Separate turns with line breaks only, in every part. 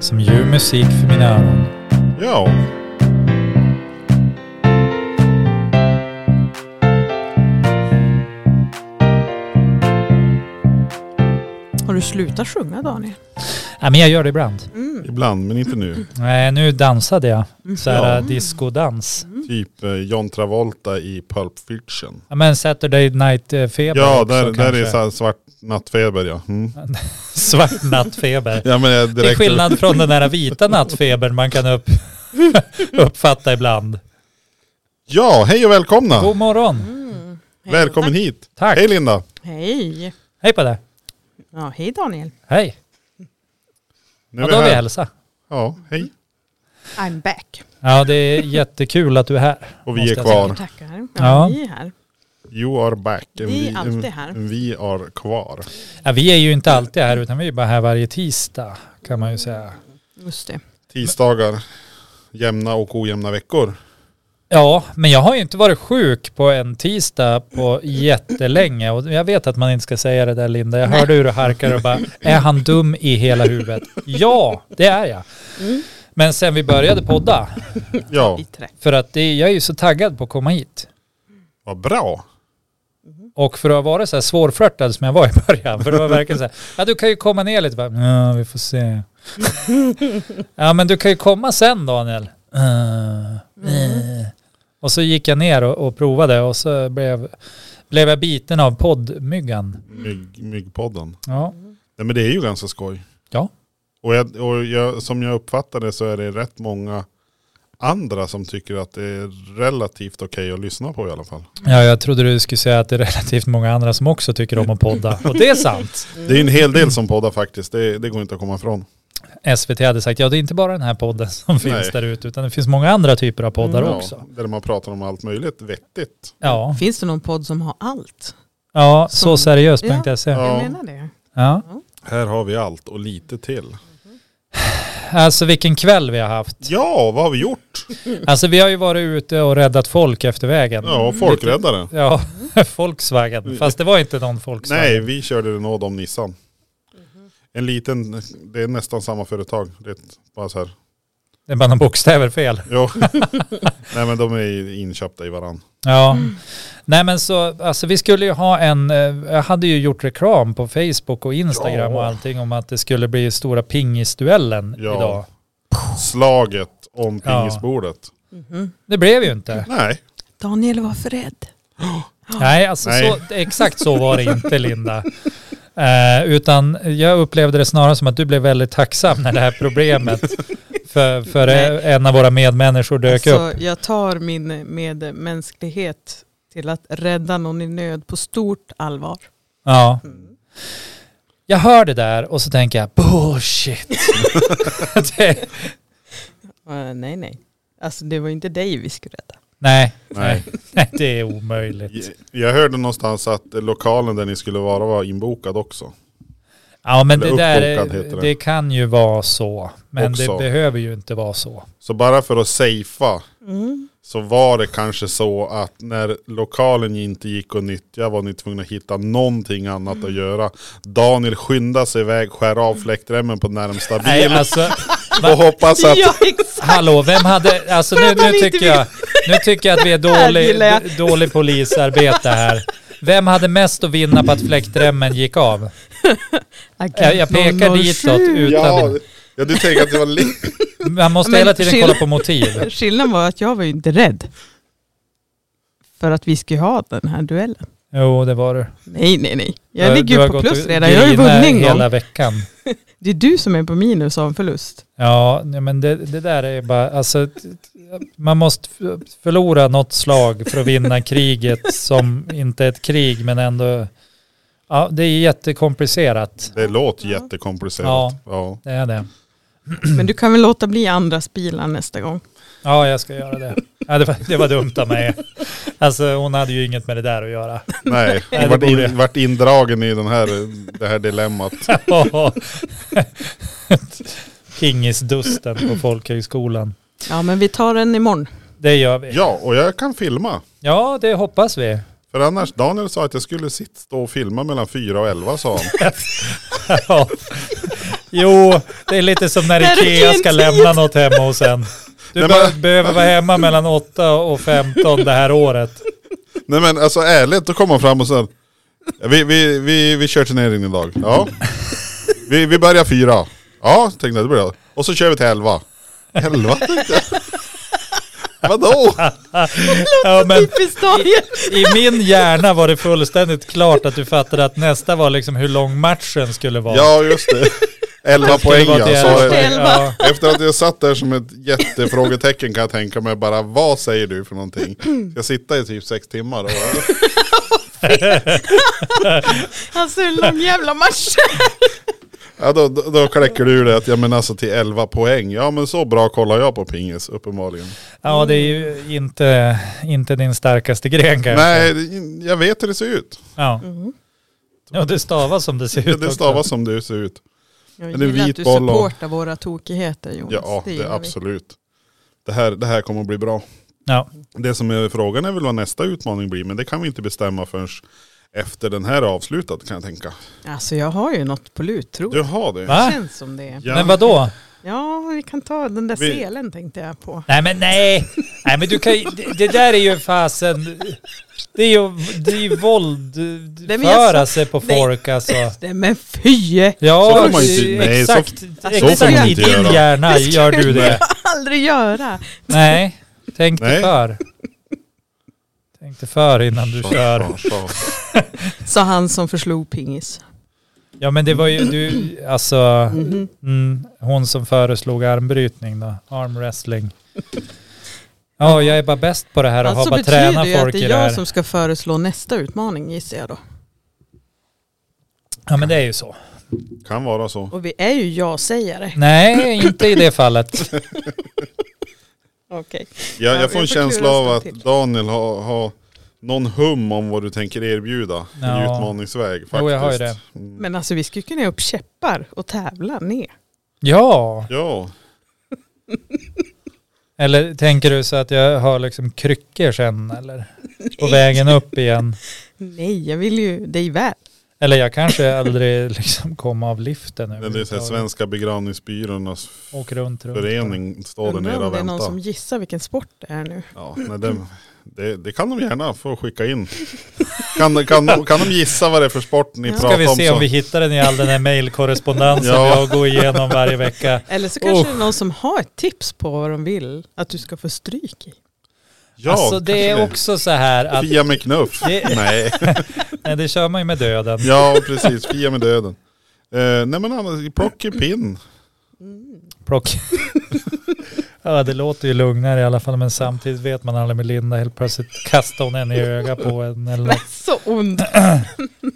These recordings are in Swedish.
Som ljuv musik för mina öron.
Ja.
Har du slutat sjunga Daniel?
Nej, men jag gör det ibland.
Ibland, men inte nu.
Nej, nu dansade jag. Så här
Ja.
eh, discodans.
Typ eh, John Travolta i Pulp Fiction.
Ja, men Saturday Night-feber
Ja,
också,
där, där är
kanske.
så här svart nattfeber ja. Mm.
Svart nattfeber.
ja men jag direkt,
Det är skillnad från den här vita nattfebern man kan upp, uppfatta ibland.
Ja, hej och välkomna.
God morgon.
Hej.
Välkommen hit.
Tack.
Hej Linda.
Hej!
Hej på dig.
Ja, hej Daniel.
Hej.
Nu
Ja, då har vi
här.
hälsa.
Ja, hej.
I'm back.
Ja, det är jättekul att du är här.
Och vi
Måste
är
jag
kvar.
Tackar, tackar. Ja,
Ja.
Vi är här.
You are back. Mm.
Vi är alltid här.
Vi är kvar.
Ja, vi är ju inte alltid här utan vi är bara här varje tisdag kan man ju säga.
Just det.
Tisdagar. Jämna och ojämna veckor.
Mm. Ja, men jag har ju inte varit sjuk på en tisdag på jättelänge och jag vet att man inte ska säga det där Linda. Jag hörde hur du harkar och bara, är han dum i hela huvudet? Ja, det är jag. Men sen vi började podda,
Ja,
Vi träff.
för att det, jag är ju så taggad på att komma hit.
vad bra.
Och för att ha varit så här svårflörtad som jag var i början, för det var verkligen så här, ja du kan ju komma ner lite bara, ja vi får se. ja men du kan ju komma sen Daniel. "Eh, eh." Och så gick jag ner och, och provade och så blev, blev jag biten av poddmyggan.
Mygg, myggpodden.
Ja.
Nej, men det är ju ganska skoj.
Ja.
Och, jag, och jag, som jag uppfattar det så är det rätt många andra som tycker att det är relativt okej att lyssna på i alla fall.
ja, jag trodde du skulle säga att det är relativt många andra som också tycker om att podda. Och det är sant.
Det är en hel del som poddar faktiskt, det, det går inte att komma ifrån.
SVT hade sagt, ja det är inte bara den här podden som finns
Nej.
där ute utan det finns många andra typer av poddar
Ja,
också.
Där man pratar om allt möjligt vettigt.
Ja,
Finns det någon podd som har allt?
ja
Som-
så seriöst.se.
Ja.
Jag menar det.
Ja.
Här har vi allt och lite till.
Alltså vilken kväll vi har haft.
Ja, vad har vi gjort?
Alltså vi har ju varit ute och räddat folk efter vägen.
Ja, folkräddare.
Ja, Volkswagen. Fast det var inte någon Volkswagen.
Nej, vi körde Renault om Nissan. En liten, det är nästan samma företag. Det är bara så här.
Det är bara några bokstäver fel.
Jo. Nej men de är ju inköpta i varann.
Ja. Nej men så, alltså vi skulle ju ha en, eh, jag hade ju gjort reklam på Facebook och Instagram
Ja.
och allting om att det skulle bli stora pingisduellen
Ja.
idag.
Slaget om pingisbordet.
Mhm.
Det blev ju inte.
Nej,
Daniel var för rädd.
Nej, alltså
Ah. Nej.
Så, exakt så var det inte Linda. Eh, utan jag upplevde det snarare som att du blev väldigt tacksam när det här problemet för, för
Nej.
en av våra medmänniskor dök upp.
Alltså, jag tar min medmänsklighet till att rädda någon i nöd på stort allvar.
Ja.
Mm.
Jag hör det där och så tänker jag bullshit. det,
Eh, nej, nej. Alltså det var inte dig vi skulle rädda.
nej, nej.
Nej.
nej, det är omöjligt.
jag hörde någonstans att lokalen där ni skulle vara var inbokad också.
Ja men det
Eller
där
uppbokad heter
är-
det.
det kan ju vara så. Men
Också.
det behöver ju inte vara så.
Så bara för att safea
Mm.
så var det kanske så att när lokalen inte gick att nyttja var ni tvungna att hitta någonting annat att göra. Daniel skyndar sig iväg, skär av fläktremmen på närmsta bil
Nej alltså,
och hoppas att...
Ja, exakt.
Hallå, vem hade, alltså nu,
att han
nu
inte
tycker jag, nu tycker jag att vi är
här
dålig,
gillar jag.
dålig polisarbete här. Vem hade mest att vinna på att fläktremmen gick av? Jag, jag pekar
007.
ditåt
Ja,
utan...
ja, du tänker att det var lite...
Man måste
Men
hela tiden
chill.
kolla på motiv.
Skillnaden var att jag var ju inte rädd. För att vi skulle ha den här duellen.
Jo, det var du.
Nej, nej, nej. Jag
Du-
ligger
du
ju
har
på
gått
plus
och
redan. Jag har ju
grinat
vunnit en
hela
gång.
veckan.
Det är du som är på minus av en förlust.
Ja, nej, men det, det där är bara, alltså, t- t- man måste f- förlora något slag för att vinna kriget som inte är ett krig, men ändå, ja, det är jättekomplicerat.
Det låter jättekomplicerat.
Ja.
Ja.
Det är det.
Men du kan väl låta bli andras bilar nästa gång.
Ja, jag ska göra det. Ja, det, var, det var dumt av mig. Alltså hon hade ju inget med det där att göra.
Nej,
Nej, det
jag vart,
borde jag.
in, vart indragen i den här, det här dilemmat.
Pingisdusten på folkhögskolan.
Ja, men vi tar den imorgon.
Det gör vi.
Ja, och jag kan filma.
Ja, det hoppas vi.
För annars, Daniel sa att jag skulle sitta och filma mellan fyra och elva sa han.
Ja. Jo, det är lite som när
Är det
Ikea ska
din
lämna något hemma hos en. Du
Nej,
be-
men-
behöver vara hemma mellan 8 och 15 det här året.
Nej men alltså ärligt, då kommer han fram och så här, vi, vi, vi, vi kör turneringen idag. Ja. Vi, vi börjar fyra. Ja, tänkte jag. Det blir bra. Och så kör vi till elva. Elva tänkte jag. Vadå?
Ja, men
Typiskt Daniel.
I min hjärna var det fullständigt klart att du fattade att nästa var liksom hur lång matchen skulle vara.
Ja just det. Elva
Det skulle
poäng alltså.
vara till
ja.
elva
Så,
poäng,
elva.
ja.
efter att jag satt där som ett jättefrågetecken kan jag tänka mig bara vad säger du för någonting? Ska jag sitta i typ sex timmar? Och,
Alltså hur lång jävla match.
ja, då, då, då kläcker du ur det att ja men alltså till elva poäng. Ja men så bra kollar jag på pingis uppenbarligen.
ja, det är ju inte, inte din starkaste gren kanske.
Nej, det- jag vet hur det ser ut.
Ja.
Mm.
ja, det stavas som det ser
Ja,
ut
det
också.
stavas som du ser ut.
Jag
Men det är
gillar att
vit
du
boll och-
supportar våra tokigheter Jonas.
Ja, det
gillar
är
vi.
absolut. Det här, det här kommer att bli bra.
Ja.
Det som är frågan är väl vad nästa utmaning blir, men det kan vi inte bestämma förrän efter den här är avslutad kan jag tänka.
Alltså jag har ju något på lut tror
Du
jag.
har det?
Va?
Det känns som det.
Ja.
Men vadå?
Ja, vi kan ta den där
Vi-
selen tänkte jag på.
Nej men nej. Nej men du kan ju, det, det där är ju fasen. Det är ju, det är ju våld.
men jag
Föra
sa-
sig på
nej.
folk alltså.
Nej men fy!
Ja,
Så får man ju inte- nej, så-
exakt.
får man
exakt i
inte
din
göra.
hjärna
Det ska
gör
jag
du det.
aldrig göra.
Nej, tänk dig
Nej.
för. Tänk dig för innan du
Så,
kör.
så, så.
Sa han som förslog pingis.
Ja men det var ju du, alltså,
Mhm.
mm, hon som föreslog armbrytning då, armwrestling. Ja, jag är bara bäst på det här och
Alltså
har bara
betyder
tränat
det att
folk
det
i
är
det här.
jag som ska föreslå nästa utmaning gissar jag då.
Ja men det är ju så.
Kan vara så.
Och vi är ju ja-sägare.
Mm. Nej, inte i det fallet.
Okej.
Jag,
Ja,
jag får
vi
en
får
känsla
klura oss
av att
till.
Daniel har, har någon hum om vad du tänker erbjuda i
Ja.
utmaningsväg. Faktiskt.
Jo, jag har ju det.
Mm.
Men alltså vi skulle kunna ge upp käppar och tävla ner.
Ja,
Ja,
eller tänker du så att jag har liksom kryckor sen eller? På vägen upp igen.
Nej, jag vill ju dig väl.
Eller jag kanske aldrig liksom kom av liften.
det är så här
överhuvudtaget.
Svenska begravningsbyråernas
Åker runt, runt.
förening står där
Undrar
nere
om
och
det är någon som
väntar.
gissar vilken sport det är nu.
Ja, nej, det, det, det kan de gärna få skicka in. Kan, kan, de, kan de gissa vad det är för sport ni
Ja.
pratar
Ska vi
om?
se
så-
om vi hittar den i all den här mejlkorrespondensen
Ja.
jag går igenom varje vecka.
Eller så kanske
Usch.
det är någon som har ett tips på vad de vill att du ska få stryk i.
Ja,
alltså det är
kanske
också så här att,
Fia med knuff.
Det-
Nej,
nej det kör man ju med döden.
ja precis. Fia med döden. Eh, nej men annars, plock i pinn.
Plock. ja det låter ju lugnare i alla fall men samtidigt vet man aldrig med Linda helt plötsligt kastar hon en i ögat på en eller
Men
något.
så ont.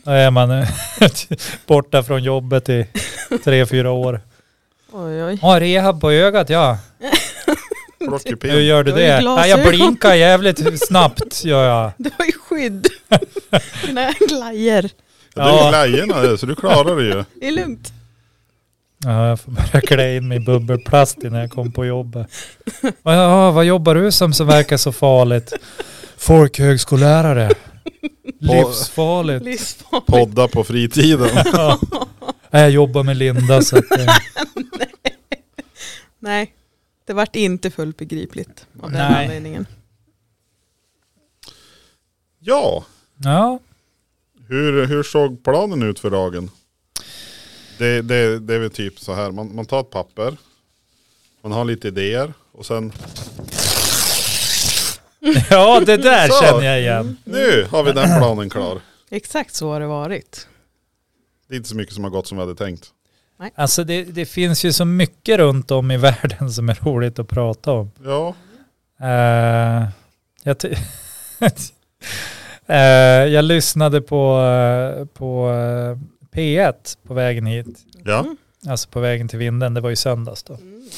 Då är man eh, borta från jobbet i tre, fyra år.
Oj, oj.
Ja rehab på ögat ja.
Plock i
Hur
pinn.
gör du
Du har ju
det? Ja, jag
glasögon.
blinkar jävligt snabbt gör jag.
Det var ju skydd. Dina glajer.
Det är
Ja.
ju glajjorna så du klarar det ju.
Det är lugnt.
Ja, jag får börja klä in mig i bubbelplast innan jag kom på jobbet. Ja, vad jobbar du som som verkar så farligt? Folkhögskollärare. Livsfarligt.
Livsfarligt.
Podda på fritiden.
Ja. Nej, Jag jobbar med Linda så att, eh,
Nej, det vart inte fullt begripligt av den
Nej.
anledningen.
Ja,
ja.
hur, hur såg planen ut för dagen? Det, det, det är väl typ så här, man, man tar ett papper, man har lite idéer och sen
ja, det där
Så.
känner jag igen.
nu har vi den planen klar.
Exakt så har det varit.
Det är inte så mycket som har gått som vi hade tänkt.
Alltså det, det finns ju så mycket runt om i världen som är roligt att prata om.
Ja,
Eh, jag, ty- Eh, jag lyssnade på, eh, på eh, P1 på vägen hit.
ja.
alltså på vägen till vinden, det var ju söndags då.
Mm.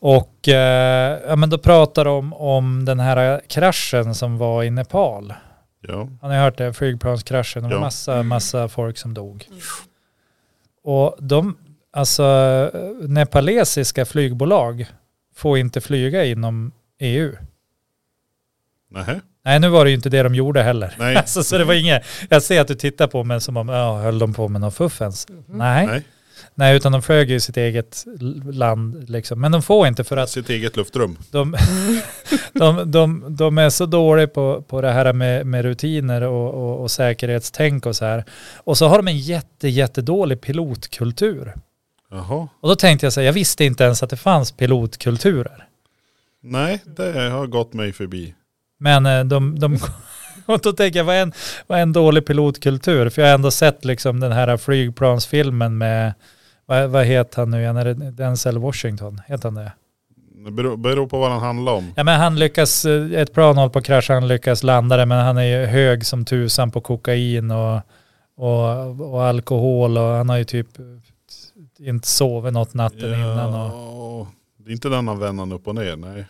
Och eh, ja, men då pratar de om den här kraschen som var i Nepal.
ja.
Har ni hört det? Flygplanskraschen. Det var
Ja.
massa, massa folk som dog. Och de, alltså eh, nepalesiska flygbolag får inte flyga inom EU.
Nej.
Nej, nu var det ju inte det de gjorde heller.
Nej.
Alltså, så det var inget, jag ser att du tittar på mig som om, ja, höll de på med något fuffens? Nej.
Nej.
Nej, utan de flög ju i sitt eget l- land liksom. Men de får inte för att
Sitt eget luftrum.
de, de, de, de är så dåliga på, på det här med, med rutiner och, och, och säkerhetstänk och så här. Och så har de en jätte, jättedålig pilotkultur.
Jaha.
Och då tänkte jag så här, jag visste inte ens att det fanns pilotkulturer.
Nej, det har gått mig förbi.
Men eh, de, de och då tänker jag, vad är, en, vad är en dålig pilotkultur? För jag har ändå sett liksom den här flygplansfilmen med, vad, vad heter han nu igen, är det Denzel Washington? Heter han det?
Det beror, beror på vad den handlar om.
Ja men han lyckas, eh, ett plan håller på att krascha, han lyckas landa det, men han är ju hög som tusan på kokain och, och, och alkohol och han har ju typ inte sovit något natten innan. Och,
Ja, Det är inte den han vänder han upp och ner, nej.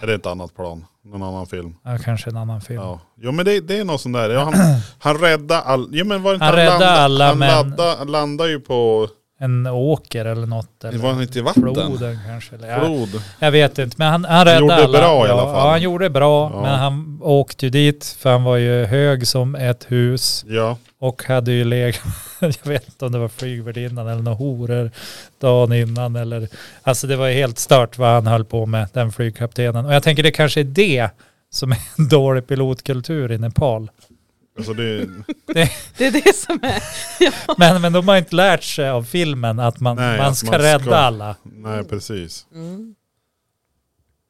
Är det ett annat plan? Någon annan film?
ja, kanske en annan film.
Ja. Jo men det, det är något sånt där. Ja, han, han räddade all, ja, men var inte
Han räddade
landa-
alla,
han
men-
ladda- Han landade ju på,
En åker eller något.
det
Eller
var han inte i vatten?
floden kanske. Eller, ja,
Flod.
jag vet inte, men han, han räddade
gjorde
alla.
bra i alla
Ja,
fall.
han gjorde bra,
Ja.
men han åkte ju dit för han var ju hög som ett hus
Ja.
och hade ju legat, jag vet inte om det var flygvärdinnan eller några horor dagen innan eller, alltså det var ju helt stört vad han höll på med, den flygkaptenen. Och jag tänker det kanske är det som är en dålig pilotkultur i Nepal.
Alltså det,
Det är det som är.
Men, men de har inte lärt sig av filmen att man,
Nej,
man
att
ska
man ska-
rädda alla.
nej precis.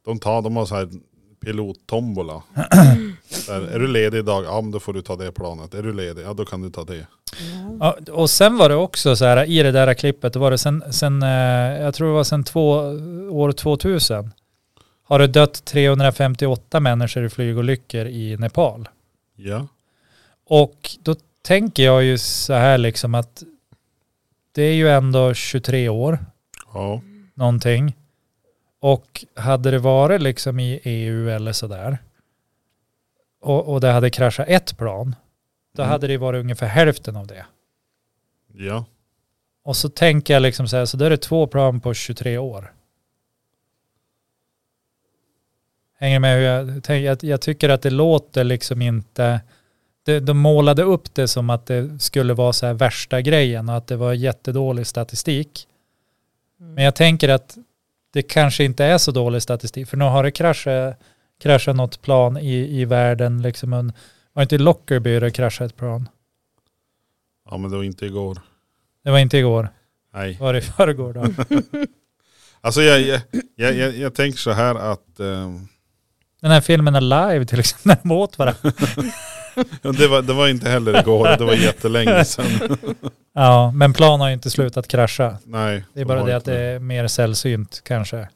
De tar, de har så här pilottombola. Där, är du ledig idag? Ja men då får du ta det planet. Är du ledig? Ja då kan du ta det.
Ja, och sen var det också så här, i det där klippet, då var det sen, sen eh, jag tror det var sen två, år 2000, har det dött 358 människor i flygolyckor i Nepal.
Ja.
Och då tänker jag ju så här liksom att det är ju ändå 23 år
Ja.
någonting. Och hade det varit liksom i EU eller sådär och, och det hade kraschat ett plan, då
Mm.
hade det varit ungefär hälften av det.
Ja.
Och så tänker jag liksom så här, så då är det två plan på 23 år. Hänger ni med hur jag tänker? Jag, jag tycker att det låter liksom inte... Det, de målade upp det som att det skulle vara så här värsta grejen och att det var jättedålig statistik. Men jag tänker att det kanske inte är så dålig statistik för nu har det kraschat, kraschat något plan i, i världen. Liksom en, var inte i Lockerby det kraschade ett plan?
Ja men det var inte igår.
Det var inte igår,
Nej.
var det i förrgår då?
Alltså jag, jag, jag, jag, jag tänker så här att eh,
Den här filmen Alive till exempel, när de åt varandra.
det, var, det var inte heller igår, det var jättelänge sedan.
Ja, men plan har ju inte slutat krascha.
Nej.
Det är bara
var
det att
inte
det är mer sällsynt kanske.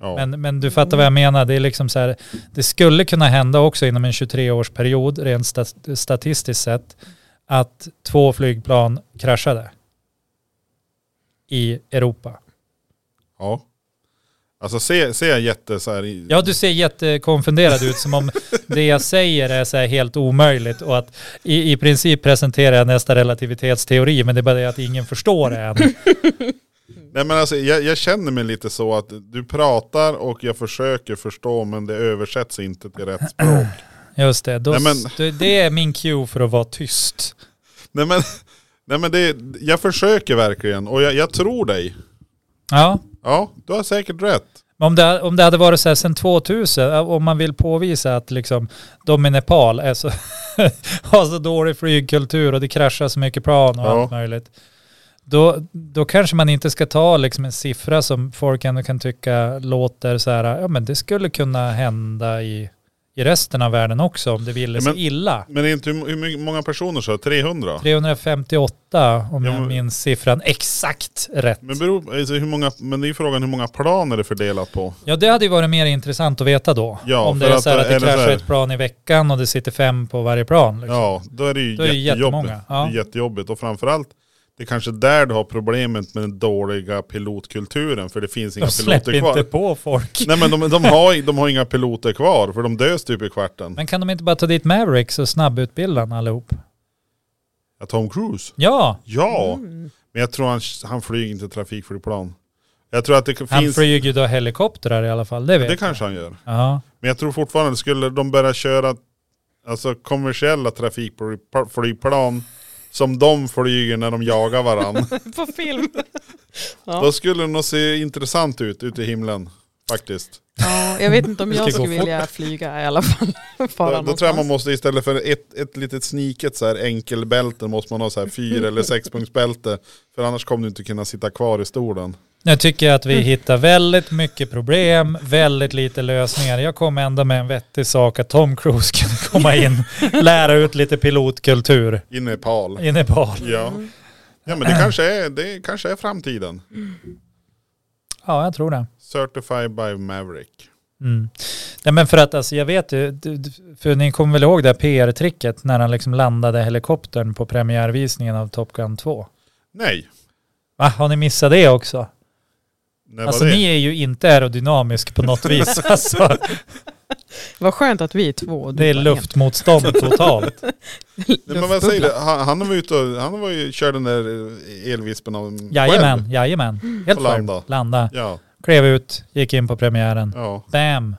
Ja.
Men, men du fattar vad jag menar, det är liksom så här, det skulle kunna hända också inom en 23-årsperiod rent stat- statistiskt sett att två flygplan kraschade i Europa.
ja. Alltså ser se jag jätte så här i,
Ja, du ser jättekonfunderad ut som om det jag säger är så här helt omöjligt och att i, i princip presenterar jag nästa relativitetsteori men det är bara det att ingen förstår det än.
Nej men alltså jag, jag känner mig lite så att du pratar och jag försöker förstå men det översätts inte till rätt språk.
Just det, då,
Nej, men-
det- det är min cue för att vara tyst.
nej men, nej, men det, jag försöker verkligen och jag, jag tror dig.
Ja,
Ja, du har säkert rätt.
men om det, om det hade varit så här sedan 2000, eh, om man vill påvisa att liksom, de i Nepal är så, har så dålig flygkultur och det kraschar så mycket plan och
Ja.
allt möjligt. Då, då kanske man inte ska ta liksom en siffra som folk ändå kan tycka låter så här, ja men det skulle kunna hända i, i resten av världen också om det ville
Ja,
så
men-
illa.
Men det är inte hur, hur mycket- många personer så? 300?
358 om
Ja,
jag
men-
minns siffran exakt rätt.
Men, beror, alltså hur många, men det är ju frågan hur många plan är det fördelat på?
Ja det hade ju varit mer intressant att veta då.
Ja,
Om det
för
är
att
så här att det
är det så
kraschar
här-
ett plan i veckan och det sitter fem på varje plan. Liksom.
Ja, då är det ju
Då är det
jättejobbigt.
jättemånga, ja.
Det är jättejobbigt och framförallt det är kanske där du har problemet med den dåliga pilotkulturen för det finns inga
de
piloter
släpper
kvar.
inte på folk.
Nej men de, de, har, de har inga piloter kvar för de dös typ i kvarten.
Men kan de inte bara ta dit Mavericks och snabbutbilda den allihop?
Ja, Tom Cruise?
Ja,
Ja,
Mm.
men jag tror han, han flyger inte trafikflygplan. Jag tror att det
han
finns...
flyger ju då helikoptrar i alla fall, det vet
Det
jag.
kanske han gör.
Ja.
Men jag tror fortfarande, skulle de börja köra alltså, kommersiella trafikflygplan som de flyger när de jagar varandra.
På film.
Då skulle det nog se intressant ut ute i himlen faktiskt.
Ja, jag vet inte om
Vi ska
jag
gå
skulle
fort.
vilja flyga i alla fall. Fara
Då, då tror jag man
någonstans.
måste istället för ett, ett litet sniket så här enkelbälte måste man ha så här fyra eller sexpunktsbälte. För annars kommer du inte kunna sitta kvar i stolen.
Nu tycker jag att
Mm.
vi hittar väldigt mycket problem, väldigt lite lösningar. Jag kom ändå med en vettig sak att Tom Cruise kan komma in, lära ut lite pilotkultur
I Nepal.
i Nepal.
Ja.
Mm.
ja men det kanske är, det kanske är framtiden.
Ja, jag tror det.
Certified by Maverick.
Mm. Nej men för att alltså jag vet ju, du- du- för ni kommer väl ihåg det här PR-tricket när han liksom landade helikoptern på premiärvisningen av Top Gun 2?
Nej.
Va, har ni missat det också?
När
Alltså
var det?
ni är ju inte aerodynamisk på något vis. Alltså,
Vad skönt att vi är två. och du
det är
bara en.
luftmotstånd totalt.
Nej, men vad säger du? Han, han var ute och, han var ju, körde den där eh, elvispen av
Jajamän, jajamän. Helt
Och
landa.
landa.
landa.
Ja,
Klev ut, gick in på premiären.
ja.
Bam!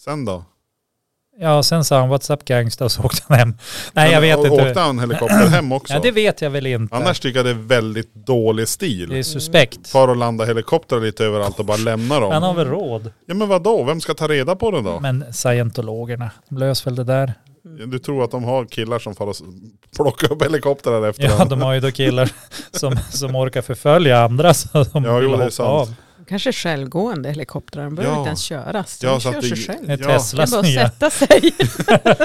Sen då?
Ja, sen sa han what's up gangsta och så åkte han hem. Nej, jag
Men
vet
å- Åkte
inte.
han helikopter hem också?
Ja, det vet jag väl inte.
Annars tycker jag det är väldigt dålig
det
stil.
är suspekt.
Far och landa helikoptrar lite överallt och bara lämna
Han
dem.
har väl råd.
Ja men vadå, vem ska ta reda på det då?
Men scientologerna, de löser väl det där.
Du tror att de har killar som far och s- plockar upp helikoptrar efter
Ja,
dem?
de har ju då killar som, som orkar förfölja andra så de
Ja,
vill
jo, det är
hoppa
sant.
av.
Kanske självgående helikoptrar, de behöver
Ja.
inte ens köras. De
Ja, så
kör
att det-
sig själv.
Det är
Ja.
Teslas
Det är bara att
nya.
sätta sig.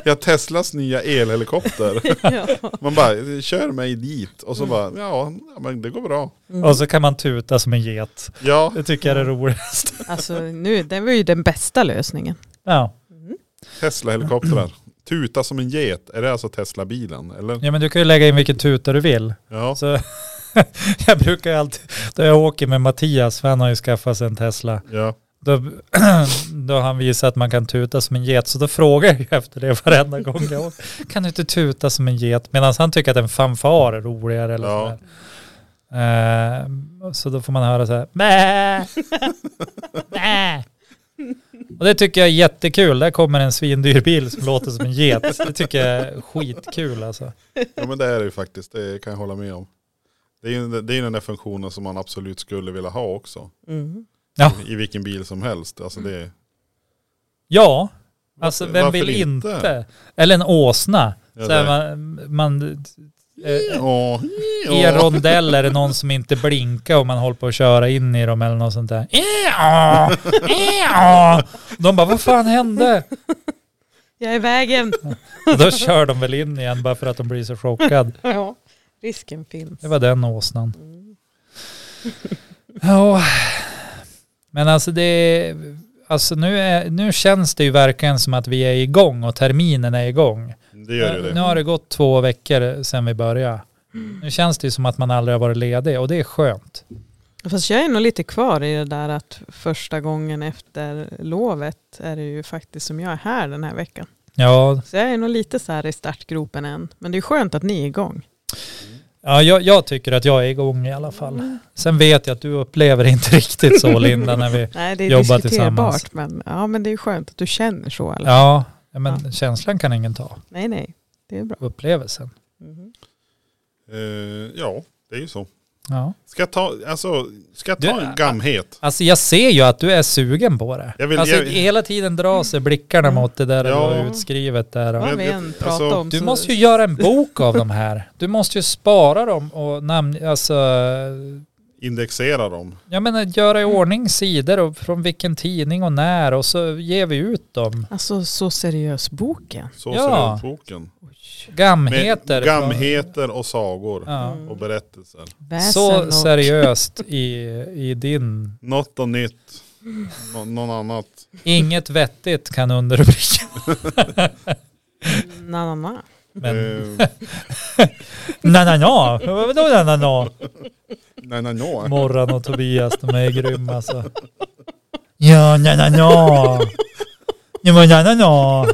Ja, Teslas nya elhelikopter.
ja.
Man bara, kör mig dit.
Mm.
Och så bara, ja ja, men det går bra.
Mm.
Och så kan man tuta som en get.
Ja,
Det tycker jag är det roligaste.
Alltså nu, det var ju den bästa lösningen.
Ja.
Mm.
Tesla-helikoptrar. Tuta som en get, är det alltså Tesla-bilen? Eller?
ja, men du kan ju lägga in vilken tuta du vill.
Ja.
Så, jag brukar ju alltid, då jag åker med Mattias, för han har ju skaffat sig en Tesla,
ja.
då, då har han visat att man kan tuta som en get. Så då frågar jag ju efter det varenda gång jag åker. Kan du inte tuta som en get? Medan han tycker att en fanfar är roligare eller
Ja.
sådär. Eh, så då får man höra så här, Mä! Mä! Och det tycker jag är jättekul. Där kommer en svindyr bil som låter som en get. Det tycker jag är skitkul alltså.
ja, men det är det ju faktiskt. Det kan jag hålla med om. Det är ju det är ju den där funktionen som man absolut skulle vilja ha också.
Mm.
Ja, Mm.
I vilken bil som helst. Alltså det,
ja. alltså
Varför-
vem
varför
vill inte?
inte?
Eller en åsna.
ja,
så här,
det
man, man, eh,
Ja,
I en
ja.
E rondell är det någon som inte blinkar och man håller på att köra in i dem eller något sånt där. E Ja, ja. De bara, vad fan hände?
Jag är i vägen.
Och då kör de väl in igen bara för att de blir så chockade.
ja. Risken finns.
Det var den åsnan.
Mm.
Ja, men alltså det... Alltså nu, är, nu känns det ju verkligen som att vi är igång och terminen är igång.
Det gör ju
Nu
det. Mm.
har det gått två veckor sedan vi började. Nu känns det ju som att man aldrig har varit ledig och det är skönt.
Fast jag är nog lite kvar i det där att första gången efter lovet är det ju faktiskt som jag är här den här veckan.
Ja,
Så jag är nog lite så här i startgropen än. Men det är skönt att ni är igång.
ja jag, jag tycker att jag är igång i alla fall. Sen vet jag att du upplever inte riktigt så Linda när vi...
Nej, det är
Jobba tillsammans.
diskuterbart. Men, ja, men det är skönt att du känner så. Eller?
Ja, ja, men känslan kan ingen ta.
Nej, nej. Det är bra.
Upplevelsen.
Mhm.
Eh, ja, det är ju så.
Ja.
Ska jag ta, alltså, ska jag ta
Du-
en gamhet?
Alltså jag ser ju att du är sugen på det.
Jag vill-
alltså
jag-
hela tiden drar sig blickarna mot det där
Ja.
du har utskrivet där.
Vad
Men
vi
det-
än
alltså,
pratar om
Du
så-
måste ju göra en bok av de här. Du måste ju spara dem och namn, alltså,
Indexera dem.
jag menar göra i ordning sidor och från vilken tidning och när och så ger vi ut dem.
Alltså så seriös boken.
Så
Ja.
ser ser boken. Med
Gamheter. från-
gamheter och sagor.
Ja.
Och berättelser.
Väsen
Så
och-
seriöst i, i din...
Något och nytt. Nå- någon annat.
Inget vettigt kan underrubriken.
Na, na, na.
Men
Eh,
na-na-na, vadå na-na-na?
nej, nej, nej.
Morran och Tobias, de är grymma alltså. Ja, na na na. Ja, men na na na.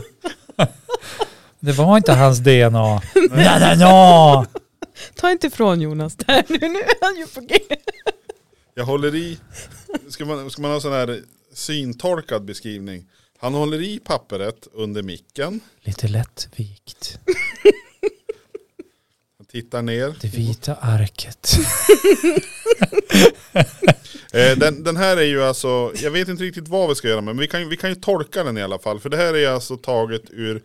Det var inte hans DNA. Na na na.
Ta inte ifrån Jonas där nu. Nu är han ju på G.
Jag håller i. Ska man, ska man ha sån här syntorkad beskrivning? Han håller i pappret under micken.
Lite lättvikt.
tittar ner.
Det vita arket.
Eh, den, den här är ju alltså, jag vet inte riktigt vad vi ska göra med, men vi kan, ju- vi kan ju tolka den i alla fall. För det här är ju alltså taget ur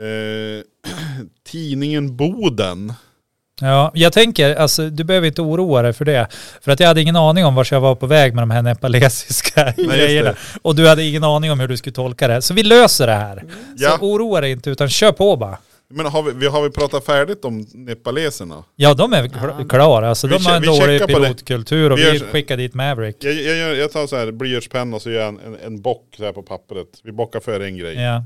eh, tidningen Boden.
Ja, jag tänker, alltså, du behöver inte oroa dig för det. För att jag hade ingen aning om vart jag var på väg med de här nepalesiska
just
grejerna.
det.
Och du hade ingen aning om hur du skulle tolka det. Så vi löser det här.
Mm. Ja.
Så oroa dig inte, utan kör på bara.
Men har vi, vi, har vi pratat färdigt om nepaleserna?
Ja, de är kl- klara. Alltså,
Vi
de har en
che- vi
dålig
checkar på det.
pilotkultur och
Vi gör
vi
så-
skickar dit Maverick.
Jag, jag, gör- jag tar så här blyertspenna och så gör jag en, en, en bock så här på pappret. Vi bockar för en grej.
Ja.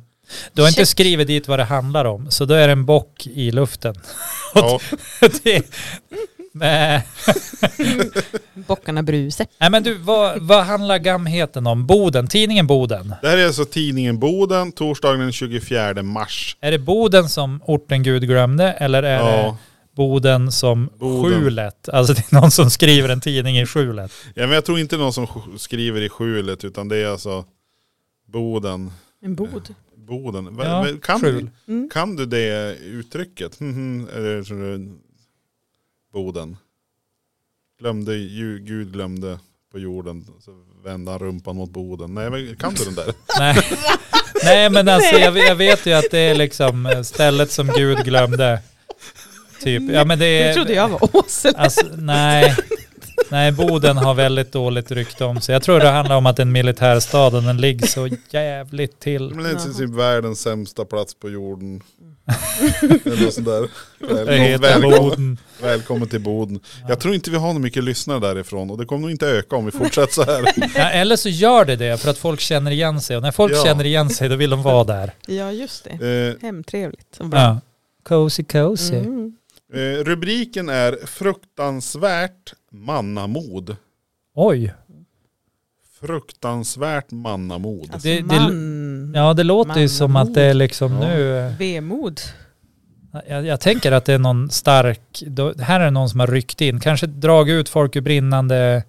Du har inte
Check.
skrivit dit vad det handlar om, så då är det en bock i luften.
Ja.
det, nej.
Bockarna Bruse.
nej, men du, vad, vad handlar gamheten om? Boden, tidningen Boden.
Det här är alltså tidningen Boden, torsdagen den 24 mars.
Är det Boden som orten Gud glömde eller är det
Ja.
Boden som
Boden.
Skjulet? Alltså det är någon som skriver en tidning i Skjulet.
ja, men jag tror inte det är någon som sk- skriver i skjulet utan det är alltså Boden.
En bod.
Boden. Va-
Ja,
men kan,
skjul.
du,
Mm.
kan du det uttrycket? Mhm, eller tror du- Boden. Glömde, ju, Gud glömde på jorden. Så vände han rumpan mot Boden. Nej men kan du den där?
Nej. Nej men alltså jag, jag vet ju att det är liksom eh, stället som Gud glömde. Typ. Ja, men det, är,
Det trodde jag var Åsele.
Alltså, nej. nej, Boden har väldigt dåligt rykte om sig. Jag tror det handlar om att en militärstad och den ligger så jävligt till.
Men det är
Jaha.
typ världens sämsta plats på jorden. Eller något sånt där.
Det
Väl,
Mm. heter
välkommen,
Boden.
välkommen till Boden. Jag tror inte vi har så mycket lyssnare därifrån och det kommer nog inte öka om vi fortsätter så här.
Ja, eller så gör det det för att folk känner igen sig och när folk
Ja.
känner igen sig då vill de vara där.
Ja, just det.
Eh,
Hemtrevligt. Och bra.
Ja. Cozy cozy.
Mm.
eh, rubriken är Fruktansvärt mannamod.
Oj,
Fruktansvärt mannamod.
Alltså
Det- det-
man.
ja det låter ju
Mm. Man
som
har
att det är liksom
Ja.
nu. eh,
Vemod.
Jag, jag tänker att det är någon stark, då, här är det någon som har ryckt in, kanske dragit ut folk ur brinnande,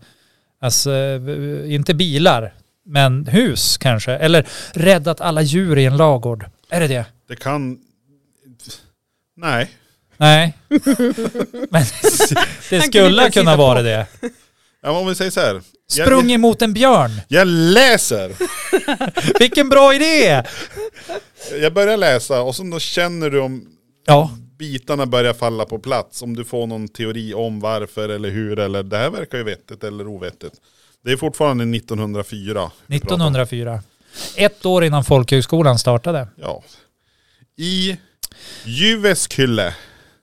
alltså eh, inte bilar, men hus kanske. Eller räddat alla djur i en lagård. Är det det?
Det kan... Nej.
Nej. men det skulle
ens
kunna
hitta
vara
på.
det.
Ja, men om vi säger så här. Jag-
Sprungit mot en björn.
Jag läser!
Vilken bra idé!
Jag börjar läsa och sen då känner du om
Ja,
bitarna börjar falla på plats. Om du får någon teori om varför eller hur eller det här verkar ju vettigt eller ovettigt. Det är fortfarande 1904. vi pratar om.
1904. Ett år innan folkhögskolan startade.
Ja. I Jyväskylä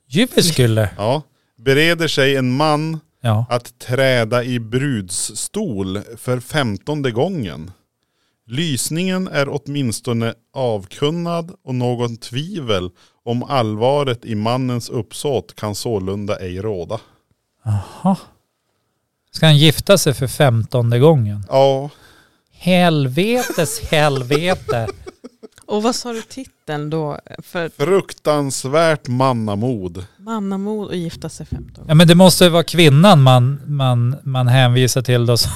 Jyväskylä.
ja, bereder sig en man
Ja.
att träda i brudsstol för femtonde gången. Lysningen är åtminstone avkunnad och någon tvivel om allvaret i mannens uppsåt kan sålunda ej råda.
Jaha. Ska han gifta sig för femtonde gången?
Ja,
Helvetes helvete.
Och vad sa du titeln då? För
fruktansvärt mannamod.
mannamod och gifta sig 15
Ja men det måste ju vara kvinnan man, man, man hänvisar till då som,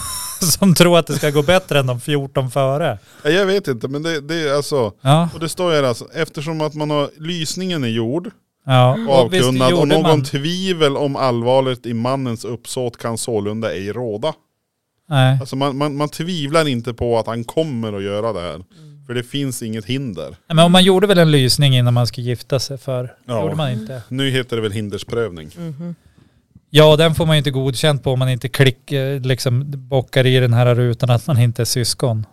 som tror att det ska gå bättre än de 14 före.
Ja, Jag vet inte, men det, det är alltså...
Ja,
Och det står ju här alltså, eftersom att man har, lysningen är gjord
ja.
och avkunnad och någon tvivel om allvaret i mannens uppsåt kan sålunda ej råda.
Nej.
Alltså man, man, man tvivlar inte på att han kommer att göra det här.
Mm.
För det finns inget hinder.
Men om man gjorde väl en lysning innan man skulle gifta sig för
Ja.
gjorde man inte.
Nu heter det väl hindersprövning.
Mhm.
Ja, den får man ju inte godkänt på om man inte klick, eh, liksom bockar i den här rutan att man inte är syskon.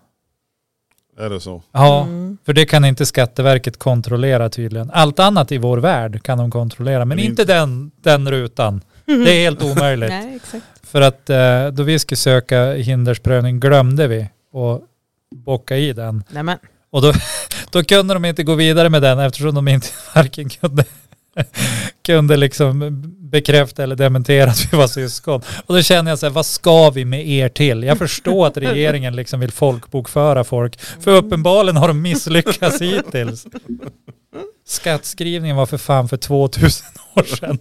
Är det så?
Ja,
Mm.
för det kan inte Skatteverket kontrollera tydligen. Allt annat i vår värld kan de kontrollera, men
Men
inte den, den rutan. Det är helt omöjligt.
Nej, exakt.
För att eh, då vi skulle söka hindersprövning glömde vi att bocka i den.
Nej, men.
Och då, då kunde de inte gå vidare med den eftersom de inte varken kunde, kunde liksom bekräfta eller dementera att vi var syskon. Och då känner jag så här, vad ska vi med er till? Jag förstår att regeringen liksom vill folkbokföra folk, för
Mm.
uppenbarligen har de misslyckats hittills. Skattskrivningen var för fan för 2000 år sedan.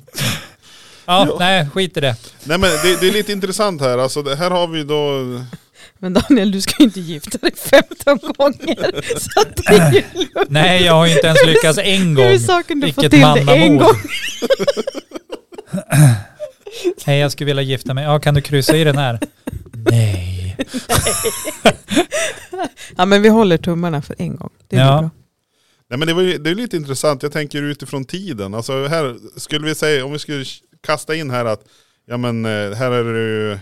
Ja,
Ja.
nej, skit i det.
Nej men det, det är lite intressant här. Alltså det, här har vi då...
men Daniel, du ska ju inte gifta dig 15 gånger. Så att det är ju lugnt.
Nej, jag har ju inte ens lyckats en
Det är
gång.
ju saken du får
Vilket
till det en
mannamod.
gång.
Hej, jag skulle vilja gifta mig. Ja, kan du kryssa i den här? Nej.
Ja, men vi håller tummarna för en gång. Det blir
Ja.
bra.
Nej men det, var ju, det är lite intressant, jag tänker utifrån tiden. Alltså här skulle vi säga, om vi skulle kasta in här att, ja men eh, här är det ju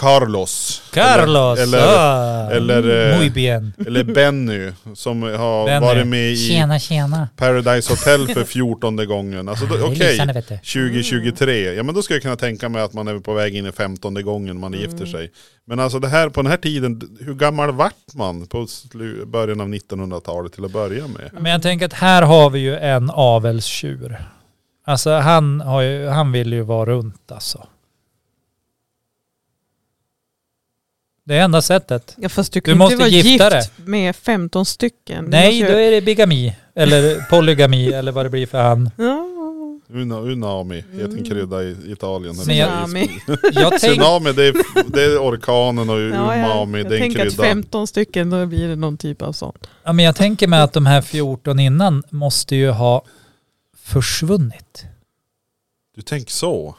Carlos.
Carlos!
Eller, eller,
ah,
eller, eh,
Muy bien.
eller Benny som har
Benny.
varit med i
Tjena, tjena.
Paradise Hotel för fjortonde gången. Alltså då-
Det är
okej,
lysande, vet du.
2023.
Mm.
Ja men då skulle jag kunna tänka mig att man är på väg in i femtonde gången
Mm.
man gifter sig. Men alltså det här, på den här tiden, d- hur gammal vart man på slu- början av 1900-talet till att börja med?
Men jag tänker att här har vi ju en avelstjur. Alltså han, har ju, han vill ju vara runt alltså. Det är enda sättet.
Ja, fast du
Du
kan ju
måste
inte vara
gifta
gift med 15 stycken. Du
Nej,
måste
då
ju-
är det bigami. Eller polygami eller vad det blir för han.
Ja.
Una, unami heter en krydda i Italien.
Men jag-
Mm. Tsunami.
Jag tänk,
Tsunami det är, det är orkanen och
Ja, jag
umami det
jag
är en
tänker att
krydda.
15 stycken, då blir det någon typ av sånt.
ja, men jag tänker mig att de här 14 innan måste ju ha försvunnit.
Du tänker så?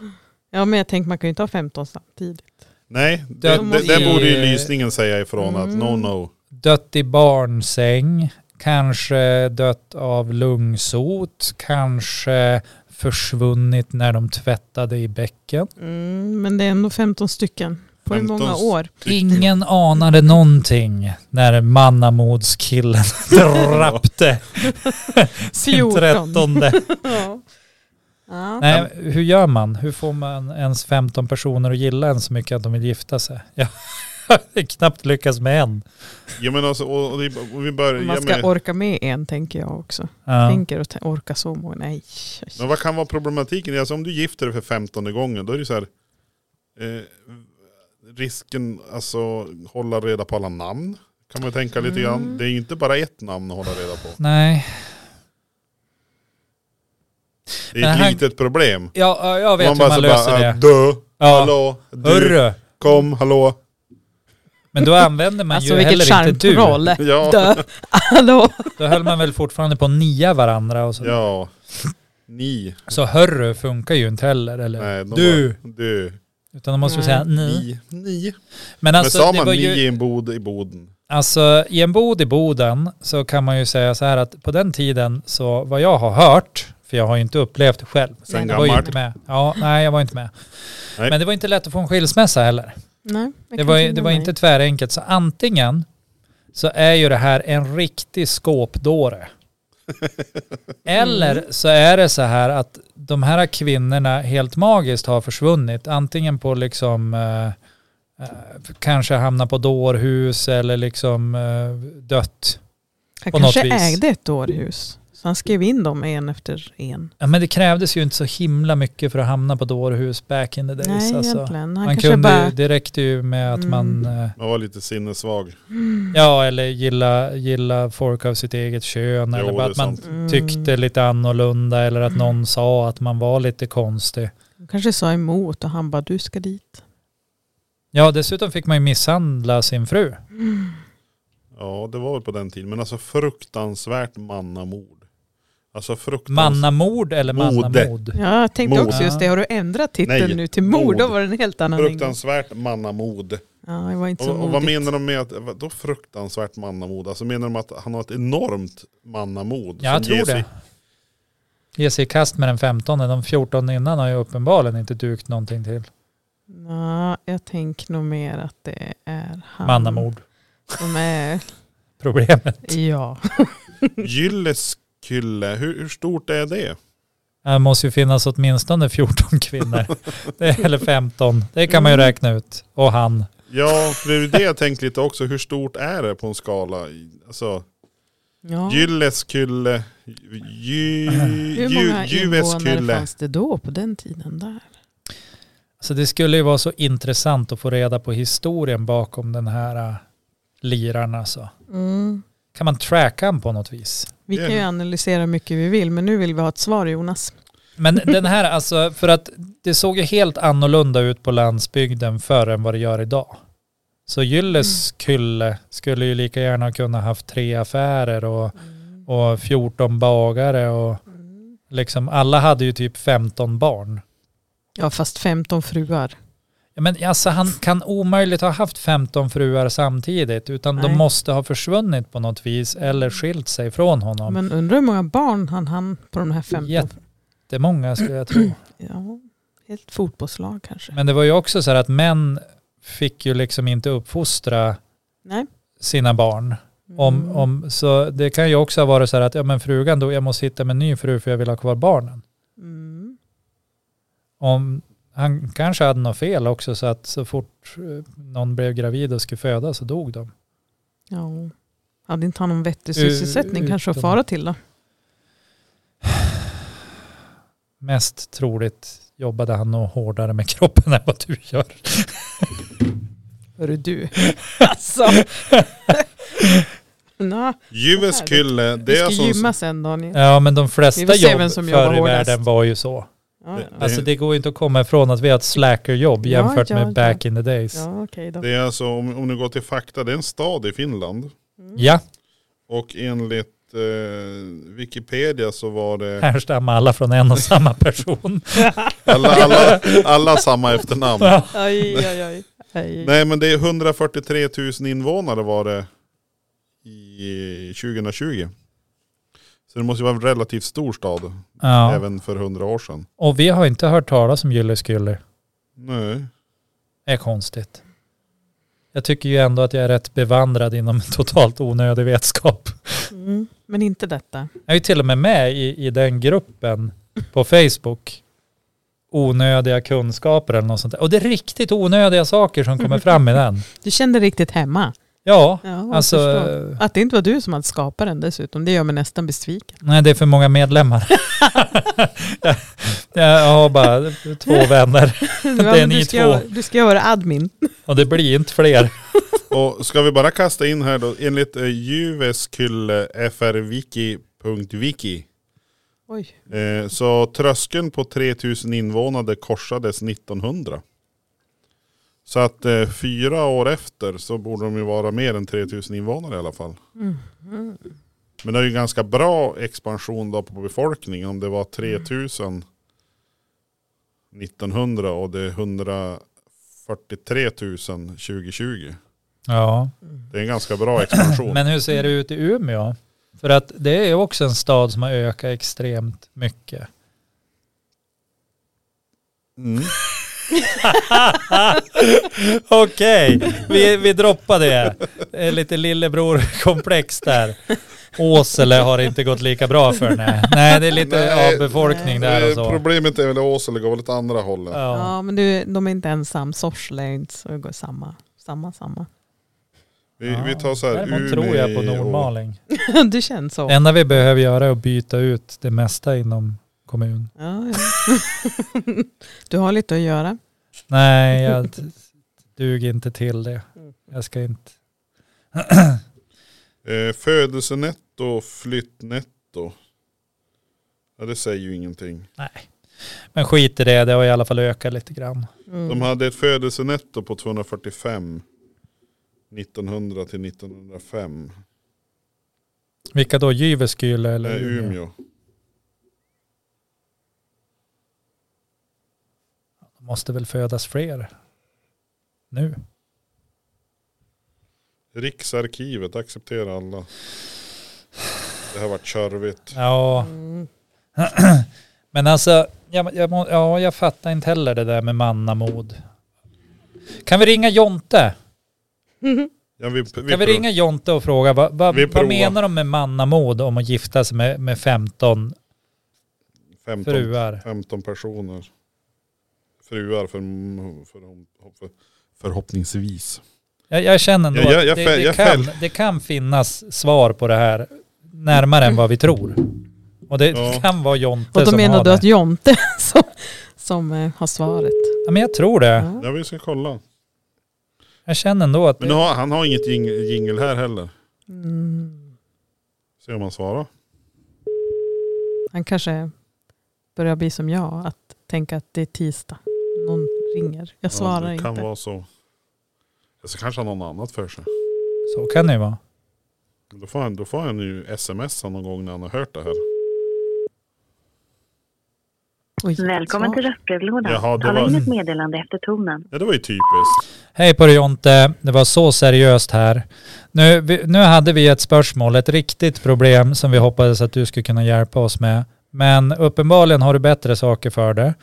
Ja, men jag tänker man kan ju inte ha 15 samtidigt.
Nej, det,
Det
det,
måste
där
ju-
borde ju lysningen säga ifrån att no no.
Dött i barnsäng, kanske dött av lungsot, kanske försvunnit när de tvättade i bäcken.
Mm, men det är ändå 15 stycken på hur
15
många år?
Ingen anade någonting när Mannamodskillen drappte sin
14.
trettonde.
Ja. Ja.
Nej, hur gör man? Hur får man ens 15 personer att gilla en så mycket att de vill gifta sig? Jag har knappt lyckats med en.
Ja men alltså, och, och det, och vi börjar...
Man
Ja,
ska
men,
orka med en tänker jag också.
Ja.
Tänker och orka så många. Nej.
men vad kan vara problematiken? Alltså om du gifter dig för femtonde gången då är det så här... Eh, risken, alltså hålla reda på alla namn. Kan man tänka lite grann.
Mm.
Det är ju inte bara ett namn att hålla reda på.
Nej,
Det är ett
Men här-
litet problem.
ja, jag vet hur man
så
löser
bara, "Ah,
det.
Dö,
Ja.
hallå, du,
Hörru,
kom, hallå.
men då använder man
Alltså
ju
vilket
heller inte du.
charmtroll.
Ja.
Dö. Hallå.
Då höll man väl fortfarande på att nia varandra och så.
Ja. Ni.
Så hörru funkar ju inte heller. Eller?
Nej, de
du.
Bara, du.
Utan de måste ju
Nej.
säga ni.
Ni. Ni.
Men alltså,
Men sa
det
man
var
ni
ju...
i en bod i Boden?
Alltså i en bod i Boden så kan man ju säga så här att på den tiden så vad jag har hört, för jag har ju inte upplevt det själv.
Sen
Jag var ju
gammalt.
inte med. Ja, nej jag var inte med.
Nej.
Men det var inte lätt att få en skilsmässa heller.
Nej, jag
Det
kan
var, ju-
tänka
det var
mig.
inte tvärenkelt. Så antingen så är ju det här en riktig skåpdåre.
Mm.
Eller så är det så här att de här kvinnorna helt magiskt har försvunnit. Antingen på liksom eh, eh, kanske hamna på dårhus eller liksom eh, dött.
Han
på
kanske
något vis.
ägde ett dårhus. Så han skrev in dem en efter en.
Ja, men det krävdes ju inte så himla mycket för att hamna på dårhus back in the days.
Nej
alltså.
egentligen. Han
Man
kanske
kunde, ju-
bara... Mm.
Det räckte ju med att man, eh,
Man var lite sinnessvag.
ja eller gilla, gilla folk av sitt eget kön eller
Jo,
bara
det är
att man
sant.
Mm.
tyckte lite annorlunda eller att någon sa att man var lite konstig.
Han kanske sa emot och han bara du ska dit.
Ja, dessutom fick man ju misshandla sin fru.
Ja, det var väl på den tiden. Men alltså fruktansvärt mannamord. Alltså fruktansvärt.
Mannamord eller
Mode.
mannamod?
Ja, jag tänkte
Mord.
också just det. Har du ändrat titeln
Nej,
nu till mord? Då
mord.
var det en helt annan ingång.
Fruktansvärt mannamod.
Ja, det var inte så
Och, och vad
modigt.
menar de med att, då fruktansvärt mannamod? Alltså menar de att han har ett enormt mannamod?
Ja, jag
som ger
tror
sig-
det. Ge sig i kast med den 15. De 14 innan har ju uppenbarligen inte dukt någonting till.
Ja, jag tänker nog mer att det är han.
Mannamord.
Som är,
Problemet.
ja.
Gylleskylle, hur, hur stort är det?
Det måste ju finnas åtminstone 14 kvinnor. Det är, eller 15. Det kan man ju räkna ut. Och han.
Ja, för det är ju det jag tänkte lite också. Hur stort är det på en skala? I- Alltså,
ja.
Gylleskylle,
Hur många invånare
Juveskylle.
fanns det då på den tiden där?
Så det skulle ju vara så intressant att få reda på historien bakom den här äh, liraren alltså. Kan man tracka han på något vis?
Vi
Det är
kan ju
det.
analysera hur mycket vi vill, men nu vill vi ha ett svar Jonas.
Men den här alltså, för att det såg ju helt annorlunda ut på landsbygden förr än vad det gör idag. Så Gylleskylle skulle ju lika gärna kunna haft tre affärer och,
Mm.
och 14 bagare och liksom alla hade ju typ 15 barn.
Ja, fast 15 fruar.
Ja, men alltså, han kan omöjligt ha haft 15 fruar samtidigt utan de
Nej. Mm.
måste ha försvunnit på något vis eller skilt sig från honom.
Men undrar hur många barn han hann på de här 15.
Jätte- Det är många skulle jag tro.
Ja, helt fotbollslag kanske.
Men det var ju också så här att män fick ju liksom inte uppfostra
Nej.
sina barn.
Mm.
Om, om, så det kan ju också ha varit så här att ja, men frugan då, jag måste hitta mig en ny fru för jag vill ha kvar barnen.
Mm.
Om, han kanske hade något fel också så att så fort eh, någon blev gravid och skulle föda så dog de.
Ja. Hade inte han någon vettig
U-
sysselsättning kanske att
utom-
fara till då?
Mest troligt jobbade han nog hårdare med kroppen än vad du gör.
Hörru du. alltså. Nå,
Jyväskylä,
vi
det
ska
är alltså som...
gymma sen Daniel.
Ja men de
Vi
flesta
får se
jobb
vem som
förr
jobbar
i
hårdast.
världen var ju så.
Ja, ja.
Det-
Alltså det går ju inte att komma ifrån att vi har ett slackerjobb
Ja,
jämfört
ja,
med
ja.
back in the days. Ja.
ja okej då.
Det är alltså, om, om ni går till fakta, det är en stad i Finland.
Mm.
Och enligt eh, Wikipedia så var det
härstammar alla från en och samma person.
alla, alla, alla samma efternamn.
Ja.
Aj, aj, aj. aj.
Nej men det är 143 000 invånare var det i 2020. Så det måste ju vara en relativt stor stad
Ja.
även för 100 år sedan.
Och vi har inte hört talas om Jylleskylle.
Nej.
Det är konstigt. Jag tycker ju ändå att jag är rätt bevandrad inom totalt onödig vetskap.
Mm. Men inte detta.
Jag är ju till och med med i, i den gruppen på Facebook. Onödiga kunskaper eller något sånt där. Och det är riktigt onödiga saker som kommer fram i den.
Du kände riktigt hemma.
Ja,
Ja, jag
alltså
förstår. Att det inte var du som hade skapat den dessutom, det gör mig nästan besviken.
nej det är för många medlemmar. jag, jag har bara två vänner
Ja, men
ni
du, ska,
två.
vara- du ska vara admin.
och det blir inte fler.
Och ska vi bara kasta in här då, enligt eh, Jyväskylä frviki.wiki
Oj.
eh, så tröskeln på 3000 invånare korsades 1900. Så att eh, fyra år efter så borde de ju vara mer än 3000 invånare i alla fall. Men det är ju ganska bra expansion då på befolkningen om det var 3000 1900 och det är 143 000 2020.
Ja.
Det är en ganska bra expansion.
Men hur ser det ut i Umeå? För att det är också en stad som har ökat extremt mycket.
Mm.
Okej, vi, vi droppar det. det är lite lillebror-komplex där. Åsele har inte gått lika bra för nej. Nej, det är lite
Nej,
avbefolkning där och
Eh,
så.
Problemet är väl att Åsele går åt andra hållet.
Ja.
Ja.
men du, de är inte ensam. Sorsele är inte så det går samma. Samma, samma.
Vi, vi tar så här
Däremot tror jag på Nordmaling.
Du känns så.
Det enda vi behöver göra är att byta ut det mesta inom kommun.
Ja, ja. du har lite att göra.
Nej, jag t- duger inte till det. Jag ska inte.
Och, eh, födelsenetto, flyttnetto. Ja, det säger ju ingenting.
Men skit i det, det har i alla fall ökat lite grann.
Mm.
Mm.
De hade ett födelsenetto på 245. 1900 till 1905.
Vilka då? Jyväskylä eller
Nej, Eh, Umeå.
Det Måste väl födas fler nu?
Riksarkivet, acceptera alla. Det har varit körvigt.
Ja,
Mm.
men alltså, jag, jag, må- ja, jag fattar inte heller det där med mannamod. Kan vi ringa Jonte?
Ja, vi, vi,
Kan vi
prov-
ringa Jonte och fråga vad, vad,
Vi
vad
provar.
menar de med mannamod om att gifta sig med, med 15
15,
fruar?
15 personer. Fruar för, för, för, förhoppningsvis.
Jag, jag känner ändå
Jag- jag-
att
jag
det,
fäll-
det,
jag
kan,
fäll-
det kan finnas svar på det här närmare än vad vi tror. Och det
Ja.
kan vara Jonte
Och då
som
menar
har
du
det.
att Jonte som, som eh, har svaret.
Ja, men jag tror det.
Ja.
Ja vi ska kolla.
Jag känner ändå att...
Men nu har, han har inget jing- jingel här heller.
Mm.
Se om han svarar.
Han kanske börjar bli som jag, att tänka att det är tisdag. Någon ringer. Jag svarar
ja, det kan
inte.
vara så. Eller så kanske han har något annat för sig.
Så kan det ju vara.
Då får han, då får han ju smsa någon gång när han har hört det här.
Oj,
Välkommen
så.
till röstbrevlådan.
Jaha, det
Tala
var-
in ett meddelande efter tonen.
Ja, det var ju typiskt.
Hej på dig Jonte, det var så seriöst här. Nu, vi, nu hade vi ett spörsmål, ett riktigt problem som vi hoppades att du skulle kunna hjälpa oss med. Men uppenbarligen har du bättre saker för dig.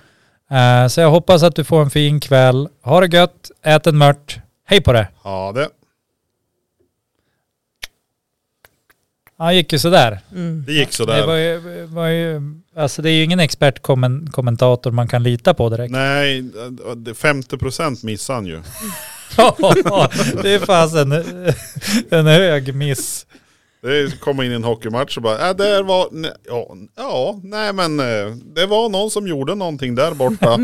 Eh, så jag hoppas att du får en fin kväll. Ha det gött, ät en mört. Hej på dig.
Ja, det.
Han gick ju sådär.
Mm.
det gick
Det var
sådär.
ju, var ju, alltså det är ju ingen expertkommentator man kan lita på direkt.
Nej, det- 50% missade han ju.
Ja, det är fasen en hög miss.
Det kom in i en hockeymatch och bara, äh, där var, ne- ja, ja, nej men eh, det var någon som gjorde någonting där borta.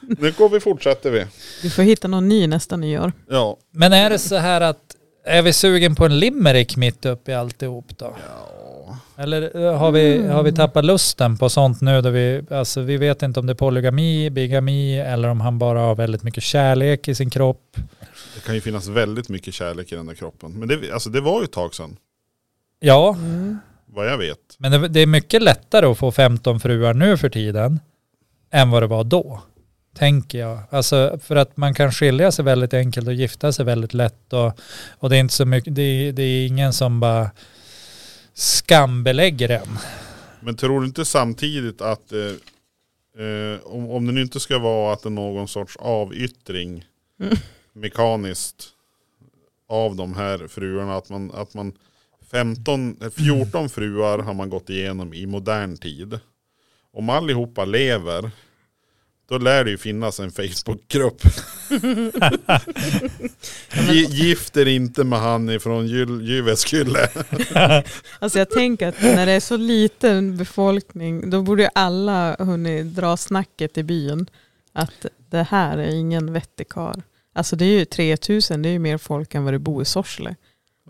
nu går vi, fortsätter vi.
Du får hitta någon ny nästa nyår.
Ja,
Men är det så här att är vi sugen på en limerick mitt uppe i alltihop då? Eller eh, har vi, har vi tappat lusten på sånt nu då vi, alltså vi vet inte om det är polygami, bigami eller om han bara har väldigt mycket kärlek i sin kropp.
det kan ju finnas väldigt mycket kärlek i den där kroppen. Men det, alltså, det var ju ett tag sedan,
Ja,
Mm.
vad jag vet.
men det, det är mycket lättare att få 15 fruar nu för tiden än vad det var då. Tänker jag. Alltså för att man kan skilja sig väldigt enkelt och gifta sig väldigt lätt och, och det är inte så mycket, det, är- det är ingen som bara skambelägger en.
Men tror du inte samtidigt att, eh, eh, om, om det nu inte ska vara att det är någon sorts avyttring
Mm.
mekaniskt av de här fruarna, att man, att man 15, eh, 14 fruar har man gått igenom i modern tid. Om allihopa lever, då lär det ju finnas en Facebookgrupp. Gi- Gift er inte med han ifrån Gyl- Jyväskylle.
Alltså jag tänker att när det är så liten befolkning, då borde ju alla hunnit dra snacket i byn. Att det här är ingen vettig karl. Alltså det är ju 3000, det är ju mer folk än vad det bor i Sorsele.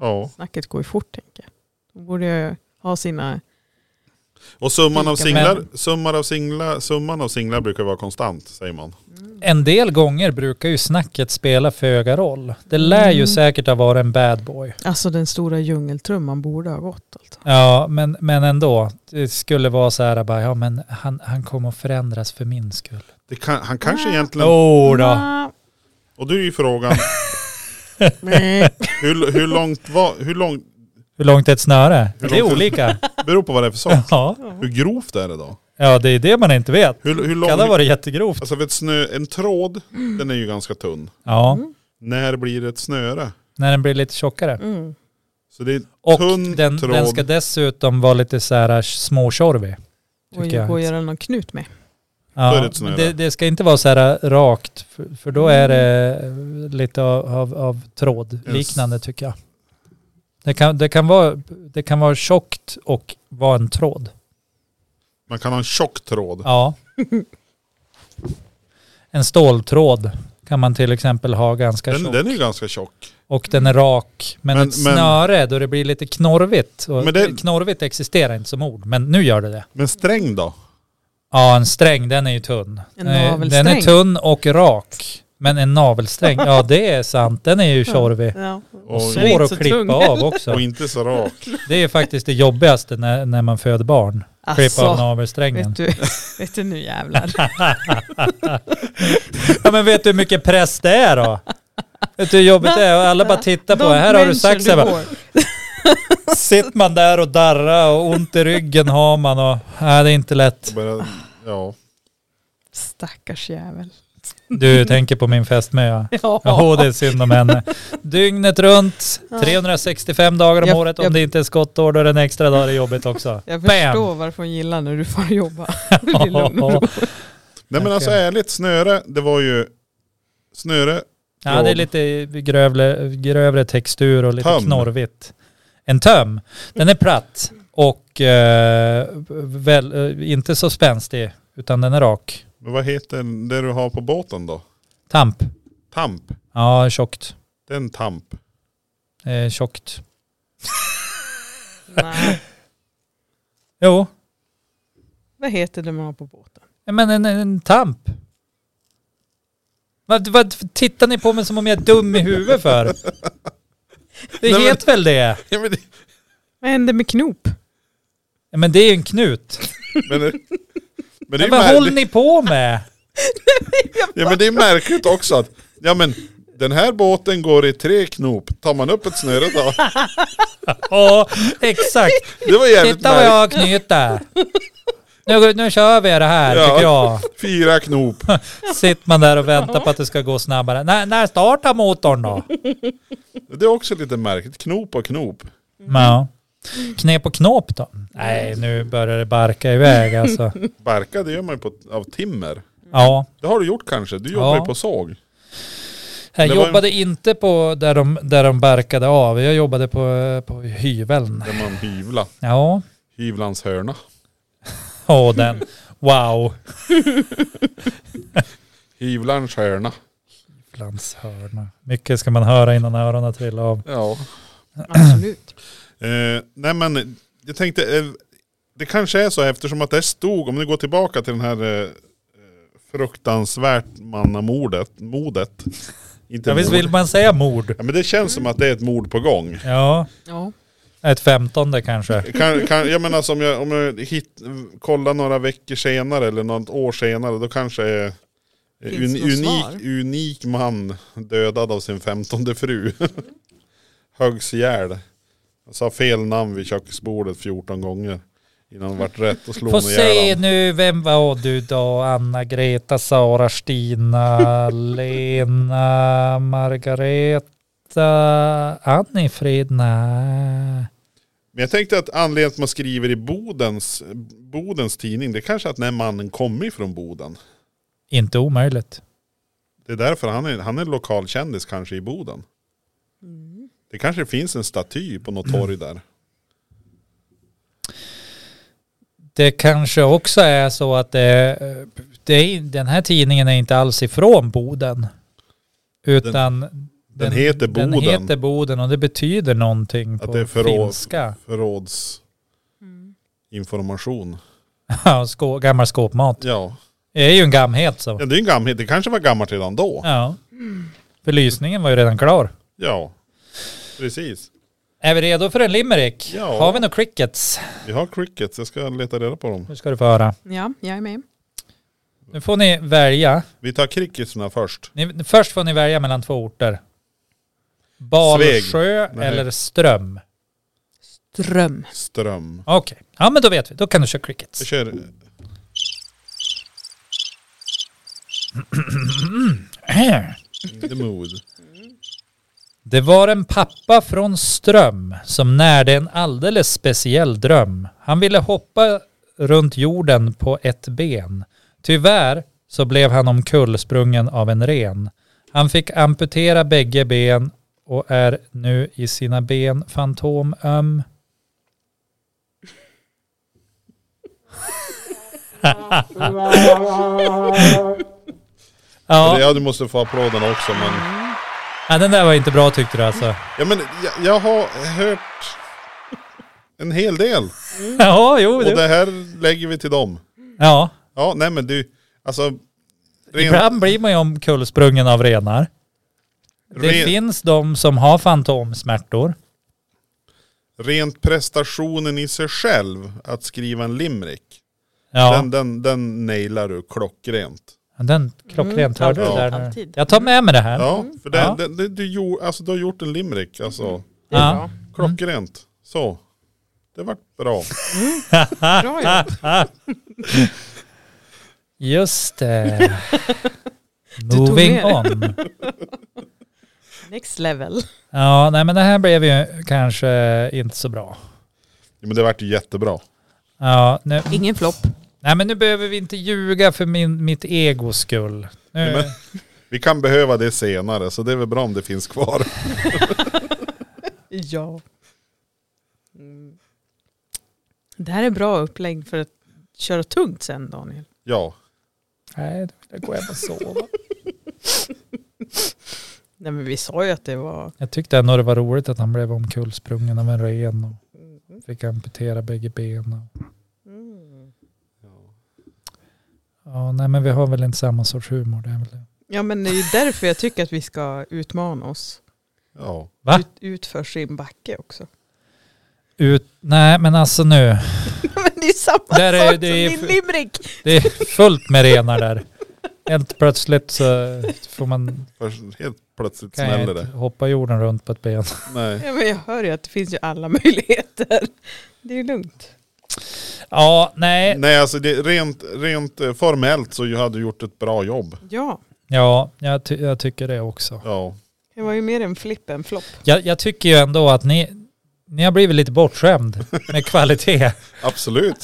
Ja.
Snacket går ju fort tänker jag. De borde ju ha sina...
Och summan av,
Lika
singlar,
med-
summan, av singlar, summan av singlar brukar vara konstant, säger man.
En del gånger brukar ju snacket spela föga roll. Det lär ju
Mm.
säkert ha varit en bad boy.
Alltså den stora djungeltrumman borde ha gått. Alltså.
Ja, men, men ändå. Det skulle vara så här bara, ja men han, han kommer att förändras för min skull.
Det kan, han kanske egentligen...
Jo då.
Ah,
Och då är ju frågan,
nej.
hur, hur långt var... Hur långt...
Hur långt är ett snöre?
Hur
Det är
långt-
olika.
beror på vad det är för sak.
Ja.
Hur grovt är det då?
ja, det är det man inte vet.
Hur, hur
Kan ha
lång...
varit jättegrovt.
Alltså för ett snö, en tråd, den är ju ganska tunn.
Ja,
När blir det ett snöre?
Mm. när den blir lite tjockare.
Mm.
Så det är en
Och
tunn
den,
tråd.
den ska dessutom vara lite så här småtjorvig.
Och
Tycker jag.
gå och göra någon knut med.
Då är
Ja,
det ett snöre.
men det, det ska inte vara så här rakt, för, för då är det eh, lite av, av, av tråd liknande tycker jag. Det kan, det, kan vara, det kan vara tjockt och vara en tråd.
Man kan ha en tjock tråd.
Ja. En ståltråd kan man till exempel ha ganska
Den,
tjock.
den är ju ganska tjock.
Och den är rak. Men,
Men-
ett
men-
snöre då det blir lite knorvigt. Och
Men det-
Knorvigt existerar inte som ord, men nu gör det det.
Men sträng då?
Ja, en sträng den är ju tunn.
En
Den är-
navelsträng.
Den är tunn och rak. Men en navelsträng, ja det är sant. Den är ju tjorvig.
Ja.
Och
Och,
Den är
svår
inte
att
så
klippa
tung.
av också.
och inte så rak.
Det är faktiskt det jobbigaste när, när man föder barn. Klippa av
Alltså,
navelsträngen.
vet du, vet du nu jävlar.
Ja men vet du hur mycket press det är då? Vet du hur jobbigt det är? Och alla bara tittar på en. Här har du
Don't mention
saxen.
the
Bara,
war.
Sitter man där och darrar och ont i ryggen har man och... Nej det är inte lätt.
Bara, ja.
Stackars jävel.
Du tänker på min fästmö ja.
Ja.
Åh det är synd om henne. Dygnet runt, 365 dagar om
Jag-
året. Om
jag-
det inte är skottår då är det en extra dag det är jobbigt också.
Jag
Bam!
förstår varför hon gillar när du får jobba. Det blir lugn och ro.
Nej men alltså
Okej.
ärligt, snöre, det var ju... Snöre,
Ja, det är lite grövre, grövre textur och lite
Töm.
knorvigt. En töm. Den är platt och eh, väl, eh, inte så spänstig utan den är rak.
men vad heter det du har på båten då?
Tamp.
Tamp.
Ja, tjockt.
Det är en tamp.
Eh, tjockt.
Nej,
Jo,
Vad heter det man har på båten?
men en, en tamp. Vad, vad tittar ni på mig som om jag är dum i huvudet för? Det
Nej, men-
heter väl det?
Ja, men, det,
Vad händer med knop?
Ja, Men det är ju en knut.
men, Men det är
Men
ju
vad
mär-
håller ni på med?
Ja men det är märkligt också att, ja men den här båten går i tre knop, tar man upp ett snöre då?
Ja, exakt.
Det var jävligt
Titta vad jag
märkligt.
har knutit. Nu, nu kör vi det här
Ja.
tycker jag.
Fyra knop.
Sitter man där och väntar på att det ska gå snabbare. När, när startar motorn då?
Det är också lite märkligt, knop och knop.
Ja. Knep och knåp då? Nej, nu börjar det barka iväg alltså.
Barka det gör man ju på, av timmer.
Ja,
Det har du gjort kanske, du jobbar ju
Ja.
på såg.
jag
Det var en-
jobbade inte på där de, där de barkade av. Jag jobbade på, eh, på hyveln.
Där man hyvlar.
Ja,
Hyvlans hörna.
åh den. Wow.
Hyvlarns hörna.
Landshörna. Mycket ska man höra innan öronen trillar av.
Ja.
Absolut.
Eh, nej men jag tänkte, eh, det kanske är så eftersom att det stod, om ni går tillbaka till den här eh, eh, fruktansvärt mannamordet, modet. Inte
Ja, visst
mord.
vill man säga mord?
Ja, men det känns som att det är ett mord på gång.
Ja,
Ja.
ett femtonde kanske.
Kan, kan, jag menar alltså, om jag, om jag hit, kollar några veckor senare eller något år senare då kanske är
Finns
un,
något
unik,
svar?
unik man dödad av sin femtonde fru. Höggs ihjäl. Sa fel namn vid köksbordet 14 gånger. Innan det vart rätt och slog
Få
hon ihjäl
se
honom.
nu, vem var du då? Anna-Greta, Sara, Stina, Lena, Margareta, Anni-Frid, nej.
Men jag tänkte att anledningen till att man skriver i Bodens, Bodens tidning det är kanske att den här mannen kommer ifrån Boden.
Inte omöjligt.
Det är därför han är, han är lokal kändis kanske i Boden.
Mm.
Det kanske finns en staty på något torg där.
Det kanske också är så att det, det är, den här tidningen är inte alls ifrån Boden. Utan den,
Den heter Boden.
Den heter Boden och det betyder någonting
Att
på
det är förråd.
finska.
Förrådsinformation.
Ja, skå, gammal skåpmat.
Ja.
Det är ju en gamhet så.
ja, det är en gammal, det kanske var gammalt redan då. Ja,
Ja. Belysningen var ju redan klar.
precis.
Är vi redo för en limerick?
Ja.
Har vi några crickets?
Vi har crickets, jag ska leta reda på dem.
Nu ska du få höra.
ja, jag är med.
Nu får ni välja.
Vi tar cricketsna först.
Ni, först får ni välja mellan två orter. Balsjö
Nej.
eller Ström.
Dröm.
Ström.
Okej, ja men då vet vi. Då kan du köra crickets.
Jag kör eh, In the mood.
Det var en pappa från Ström som närde en alldeles speciell dröm. Han ville hoppa runt jorden på ett ben. Tyvärr så blev han omkullsprungen av en ren. Han fick amputera bägge ben och är nu i sina ben fantomöm.
Ja.
ja,
ja, du måste få applåderna också men.
ja, den där var inte bra tyckte du alltså.
Ja men jag, jag har hört en hel del.
Ja, jo.
Och
det-
det här lägger vi till dem.
Ja,
Ja, nej men du, alltså. Ren,
ibland blir man ju omkullsprungen av renar. Det
ren,
finns de som har fantomsmärtor.
rent prestationen i sig själv att skriva en limerick.
Ja,
Den, den, den nailar du klockrent.
den, klockrent hörde du
alltid,
där nu.
alltid.
Jag tar med mig det här.
Mm, Ja, för det,
Ja. Mm.
Det, det, du, gjorde- alltså, du har gjort en limerick. Alltså,
Ja.
klockrent. Så. Det vart bra.
Ah.
Bra jobbat.
Just det.
tog
Moving
med det.
on.
Next level.
Ja, nej men det här blev ju kanske inte så bra.
Ja, men det vart ju jättebra.
Ja, nu,
Ingen flopp.
nej men nu behöver vi inte ljuga för min, mitt egos skull. Nu,
men- Vi kan behöva det senare så det är väl bra om det finns kvar.
Ja. Mm. Det här är bra upplägg för att köra tungt sen Daniel.
Ja,
Nej, då vill jag gå hem och sova.
Nej men vi sa ju att det var...
Jag tyckte ändå det var roligt att han blev omkullsprungen av en ren och fick amputera bägge benen. Ja, nej men vi har väl inte samma sorts humor. Det är väl det.
Ja men det är ju därför jag tycker att vi ska utmana oss.
ja.
Va?
Ut, utför sin backe också.
ut... Nej men alltså nu.
Men det är samma
Där är-
sak
det är-
som din limerick.
Det är fullt med renar där. Helt plötsligt så får man
Först- Helt plötsligt
kan jag
smäller
inte
det.
hoppa jorden runt på ett ben.
Nej.
Ja, men jag hör ju att det finns ju alla möjligheter. Det är ju lugnt.
Ja, nej.
Nej alltså det, rent, rent eh, formellt så ju hade du gjort ett bra jobb.
Ja,
Ja, jag, ty- jag tycker det också.
Ja.
det var ju mer en flipp än flopp.
Jag, jag tycker ju ändå att ni, ni har blivit lite bortskämd med kvalitet.
Absolut.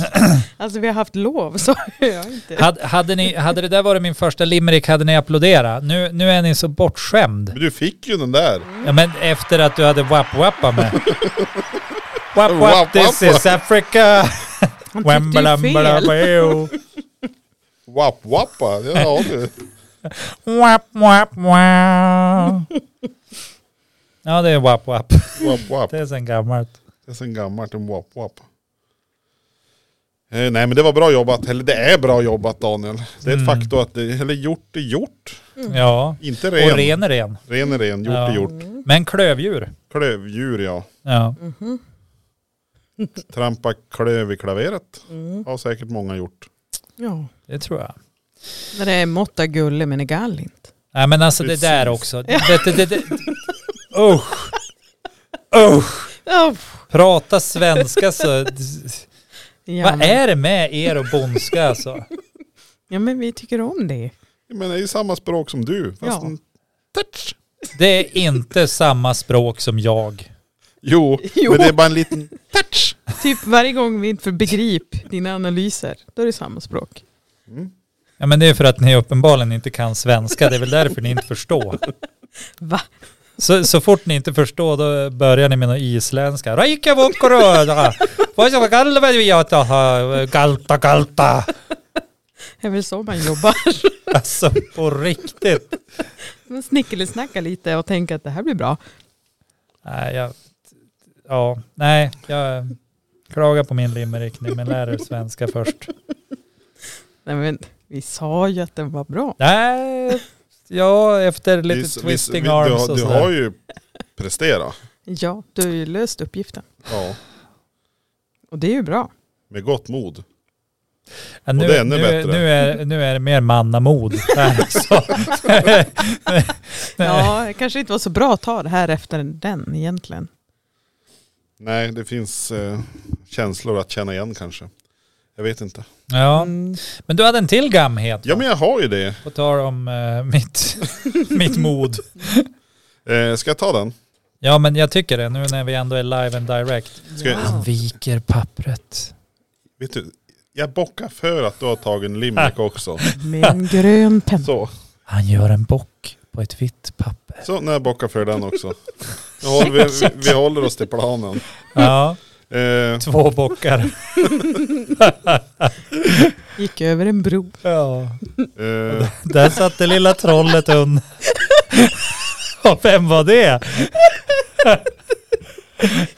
Alltså vi har haft lov så jag har inte.
Hade, hade, ni, hade det där varit min första limerick hade ni applåderat. Nu, nu är ni så bortskämd.
Men du fick ju den där.
Ja, men efter att du hade wap-wappa med. Wap-wap,
Wap-wappa.
this is Africa.
Han tyckte ju fel.
Wambalambalabaloo.
Wap wappa. Ja du.
Wap, wap, wap. Ja, det är wap-wap.
Wap wap.
Det är sen gammalt.
Det är sen gammalt en wap wap. Eh, nej men det var bra jobbat. Eller det är bra jobbat Daniel. Det är ett
Mm.
faktum att det, eller gjort är gjort.
Mm.
Ja.
Inte ren.
Och ren är ren.
Ren är ren, gjort
Ja.
är gjort.
Men klövdjur.
Klövdjur ja.
Ja.
Trampa klöv i klaveret.
Mm.
Har säkert många gjort.
Ja.
Det tror jag.
När det är måtta gulle men är gallint.
Nej men alltså
Precis.
det där också. Det, det, det, det. Usch. Usch.
Oh,
Prata svenska så.
ja,
Vad
men-
är det med er och bondska alltså?
Ja men vi tycker om det.
Men det är ju samma språk som du. Fast
Ja.
en...
Det är inte samma språk som jag.
jo,
Jo.
men det är bara en liten touch.
Typ varje gång vi inte får begrip dina analyser, då är det samma språk.
Ja men det är för att ni uppenbarligen inte kan svenska. Det är väl därför ni inte förstår.
Va?
Så, så fort ni inte förstår då börjar ni med något isländska. Reykjavikröda. Vad ska galvajata ha? Galta galta.
Det är väl så man jobbar.
Alltså på riktigt.
Man snickersnackar lite och tänker att det här blir bra.
Nej, jag, ja, nej, jag klagar på min limerick nu, men lär er svenska först.
Nej men vi sa ju att den var bra.
Nej, ja, efter lite
Visst- visst-
twisting
vi- du,
arms
har-
och
Du
sådär.
har ju presterat.
Ja, du har ju löst uppgiften.
Ja,
Och det är ju bra.
med gott mod.
Ja, nu,
och det är ännu
nu,
bättre.
Nu är, nu är det mer mannamod. Nej, så-
Ja, det kanske inte var så bra att ta det här efter den egentligen.
Nej, det finns eh, känslor att känna igen kanske. Jag vet inte.
ja,
Mm.
men du hade en till gamhet.
Ja men jag har ju det.
På tal om eh, mitt, mitt mod.
Eh, ska jag ta den?
Ja, men jag tycker det nu när vi ändå är live and direct.
Ska jag-
Han viker pappret.
Vet du, jag bockar för att du har tagit en limerick också.
Med en grön penna.
Ah. Så,
Han gör en bock på ett vitt papper.
så när jag bockar för den också. Nu håller Vi, vi, vi håller oss till planen.
Ja,
Eh,
två bockar.
Gick över en bro.
Ja.
eh,
Där satt det lilla trollet undan. Och vem var det?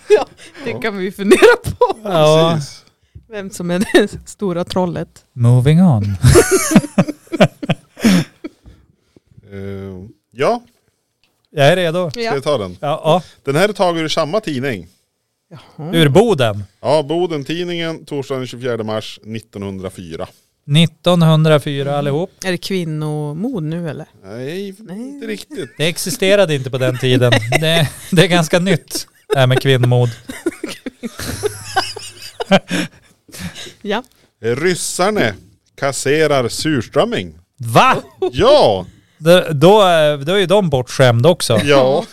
Ja, det kan vi fundera på.
Ja.
precis.
Vem som är det stora trollet.
Moving on.
Eh, ja,
Jag är redo.
ska jag ta den?
Ja,
Den här är tagen ur samma tidning.
ja. Ur Boden.
Ja, Boden-tidningen torsdagen den 24 mars 1904.
1904 allihop.
Är det kvinnomod nu eller?
Nej, inte riktigt.
Det existerade inte på den tiden. Det, det är ganska nytt det här med kvinnomod.
Ja.
Eh, Ryssarna kasserar surströmming.
Va?
Ja,
Då, då, är- då är ju de bortskämda också.
ja.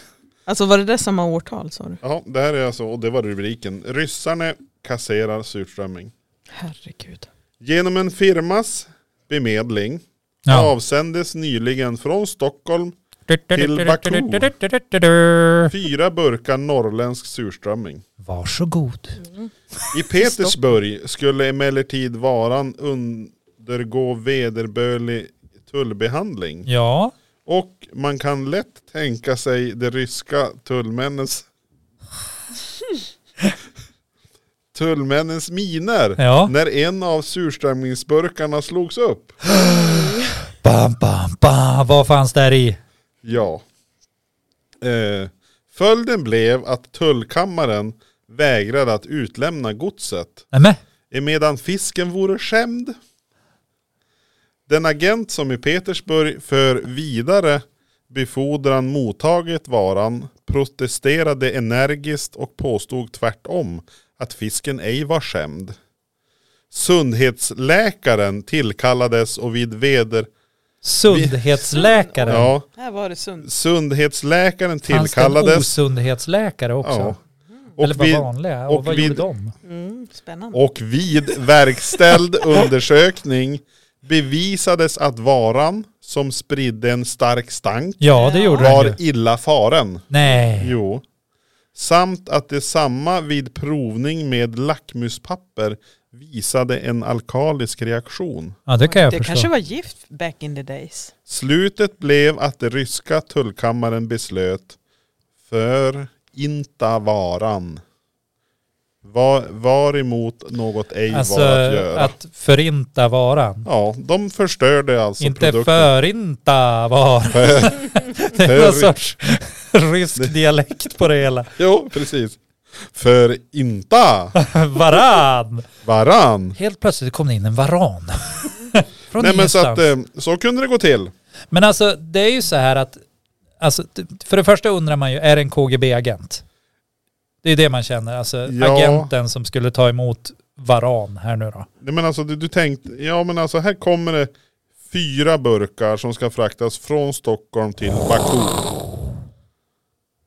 Alltså var det där samma årtal sa du?
Ja, det här är alltså, och det var rubriken. Ryssarna kasserar surströmming.
Herregud.
Genom en firmas bemedling
Ja.
avsändes nyligen från Stockholm Till fyra burkar norrländsk surströmming.
Varsågod.
I Petersburg skulle emellertid varan undergå vederbörlig tullbehandling.
Ja.
Och man kan lätt tänka sig de ryska tullmännens tullmännens miner
Ja.
när en av surströmmingsburkarna slogs upp.
Bam, bam, bam. Vad fanns där i?
Ja. Eh, följden blev att tullkammaren vägrade att utlämna godset
Nämen.
emedan fisken vore skämd. Den agent som i Petersburg för vidare befordran mottagit varan protesterade energiskt och påstod tvärtom att fisken ej var skämd. Sundhetsläkaren tillkallades och vid veder...
Sundhetsläkaren.
Ja,
Här var det sunt.
sundhetsläkaren
Fanns det en
tillkallades.
osundhetsläkare också?
Ja.
Eller
Och
var
vid,
vanliga? Och,
och
vad
vid-
gjorde de?
Mm, spännande.
och vid verkställd undersökning bevisades att varan som spridde en stark stank
Ja, det
Ja.
gjorde de ju.
var illa faren.
Nej.
Jo. Samt att detsamma vid provning med lackmuspapper visade en alkalisk reaktion.
Ja, det kan jag förstå.
kanske var gift back in the days.
Slutet blev att det ryska tullkammaren beslöt för inta varan. Var, var emot något ej
Alltså
var att göra.
att förinta varan.
Ja, de förstörde alltså
Inte
produkten.
förinta varan. det är någon
Förin-
sorts rysk dialekt på det hela.
Jo, precis. För inta
Varan.
varann.
Helt plötsligt kom det in en varan. Från
Nej men så att
ingenstans.
eh, så kunde det gå till.
Men alltså det är ju så här att, alltså, t- för det första undrar man ju, är det en KGB-agent? Det är det man känner, alltså
Ja.
agenten som skulle ta emot varan här nu då.
Nej men alltså du, du tänkte, ja men alltså här kommer det fyra burkar som ska fraktas från Stockholm till Baku.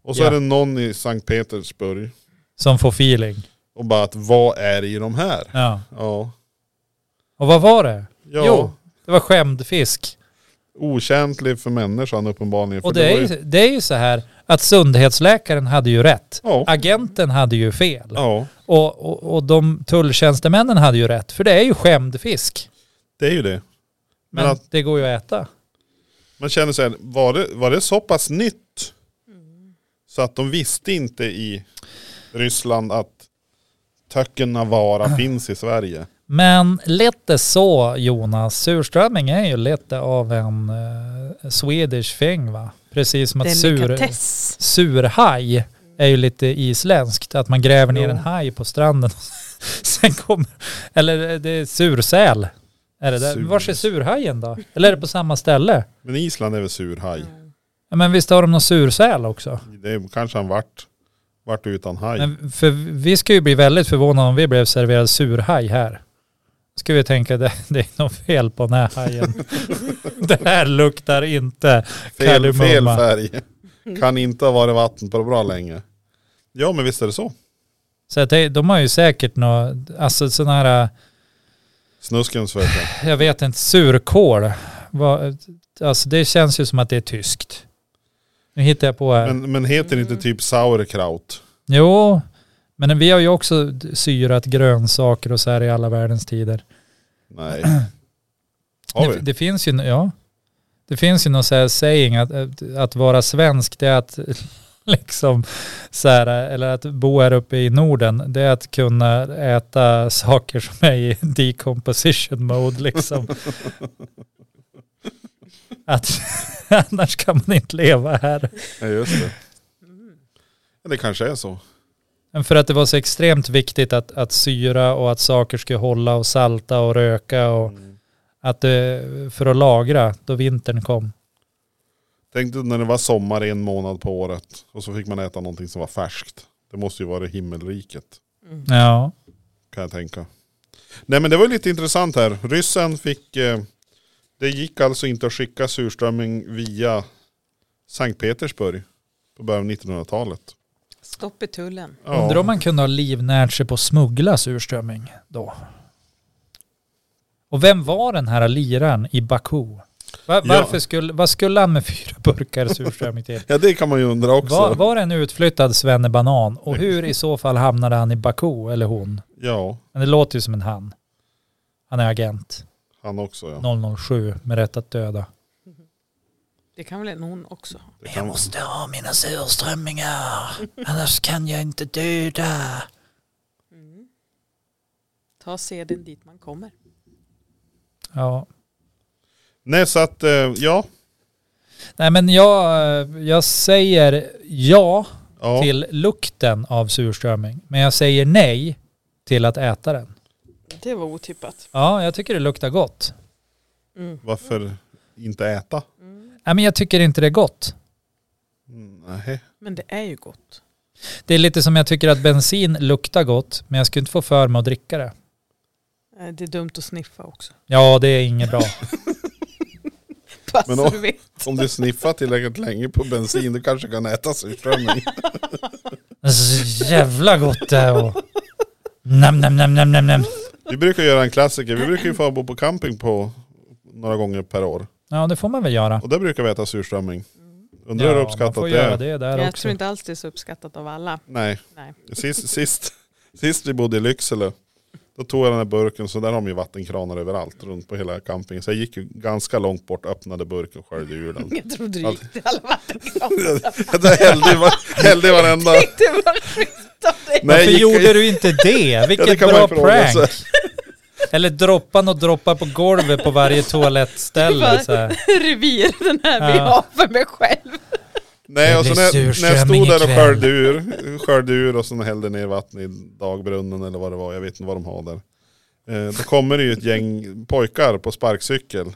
Och så
Ja.
är det någon i Sankt Petersburg
Som får feeling.
och bara att vad är i de här?
Ja.
Ja.
Och vad var det?
ja
Jo. Det var skämdfisk.
Okänslig för människan uppenbarligen. För
Och det är,
var ju,
ju, det är ju så här att sundhetsläkaren hade ju rätt.
Ja.
Agenten hade ju fel.
ja,
Och, och, och de tulltjänstemännen hade ju rätt. För det är ju skämdfisk.
det är ju det. Men
Men
att-
det går ju att äta.
Man känner så här, var det, var det så pass nytt så att de visste inte i Ryssland att töcken
Ah.
vara finns i Sverige?
Men lite så Jonas, surströmming är ju lite av en eh, Swedish thing va? Precis som att sur,
Delikatess.
surhaj är ju lite isländskt, att man gräver ner
Jo.
en haj på stranden. Sen kommer, eller eh, det är sursäl. Är det där?
Sur-
Vars är surhajen då? Eller är det på samma ställe?
Men Island är väl surhaj?
Ja, men visst har de någon sursäl också?
Det är, kanske han vart, vart utan haj.
Men för vi skulle ju bli väldigt förvånade om vi blev serverade surhaj här. Skulle vi tänka det, det är något fel på den här hajen. det här luktar inte
fel, fel
kardemumma.
färg. Kan inte ha varit vatten på bra länge. Ja men visst är det så.
Så att det, de har ju säkert något, alltså sådana här,
Snuskens fötter.
jag vet inte, surkål. Vad- Alltså det känns ju som att det är tyskt. Nu hittar jag på här.
Men, men heter det inte typ sauerkraut?
Jo, men vi har ju också syrat grönsaker och så här i alla världens tider.
Nej. Har
Det,
vi?
det finns ju, ja. Det finns ju någon så här saying att, att, att vara svensk det är att liksom så här, eller att bo här uppe i Norden, det är att kunna äta saker som är i decomposition mode liksom. att annars kan man inte leva här.
Ja just det. Ja, det kanske är så.
Men för att det var så extremt viktigt att, att syra och att saker skulle hålla och salta och röka och att det, för att lagra då vintern kom.
Tänk dig när det var sommar en månad på året och så fick man äta någonting som var färskt. Det måste ju vara himmelriket
Mm.
Ja.
kan jag tänka. Nej men det var lite intressant här. Ryssen fick, eh, det gick alltså inte att skicka surströmming via Sankt Petersburg på början av 1900-talet.
Stopp i tullen.
Ja.
Undrar om man kunde ha livnärt sig på att smuggla surströmming då. Och vem var den här liraren i Baku? Va- varför skulle, vad skulle han med fyra burkar surströmming till?
Ja det kan man ju undra också.
Var, var det en utflyttad svennebanan? Och hur i så fall hamnade han i Baku eller hon?
Ja,
Men det låter ju som en han. Han är agent
han också ja.
007 med rätt att döda.
Det kan väl en hon också ha?
Det kan,
ha mina surströmmingar, annars kan jag inte döda.
Mm. Ta seden dit man kommer.
Ja,
nej så att, eh, ja.
nej men jag, jag säger ja
Ja.
till lukten av surströmming. Men jag säger nej till att äta den.
Det var otippat.
Ja, jag tycker det luktar gott.
Mm.
Varför inte äta?
Nej, men jag tycker inte det är gott.
Mm, Nej.
Men det är ju gott.
Det är lite som jag tycker att bensin luktar gott, men jag skulle inte få för mig att dricka det.
Eh, Det är dumt att sniffa också.
Ja, det är inget bra.
Fast
Men då-
du vet.
Om du sniffar tillräckligt länge på bensin du kanske kan äta surströmming.
Det är så jävla gott det här. och- Nam, nam, nam, nam, nam, nam.
Vi brukar göra en klassiker. Vi brukar ju få bo på camping på några gånger per år.
Ja, det får man väl göra.
Och där brukar vi äta surströmming. Undrar hur
ja,
uppskattat
man får
det
göra
är.
det där
Jag
också.
tror inte alls det är så uppskattat av alla.
Nej.
Nej.
Sist, sist, sist vi bodde i Lycksele, då tog jag den här burken, så där har de ju vattenkranar överallt runt på hela campingen. Så jag gick ju ganska långt bort, öppnade burken och sköljde ur den.
Jag trodde du
Mm. Allt.
gick till alla vattenkranar.
Jag hällde i var- hällde i varenda.
Det var skit av dig.
Varför
gick-
gjorde du inte det?
det
Vilket
kan man
bra
ju
prank.
fråga sig.
Eller droppan och droppar på golvet på varje toalettställe. Så här.
Revir, den här vi
Ja.
har för mig själv.
Nej,
Det
och så
blir
när, när jag
surströmming
stod där och
ikväll.
sköljde ur, sköljde ur och sen hällde ner vatten i dagbrunnen eller vad det var, jag vet inte vad de har där. Eh, då kommer det ju ett gäng pojkar på sparkcykel.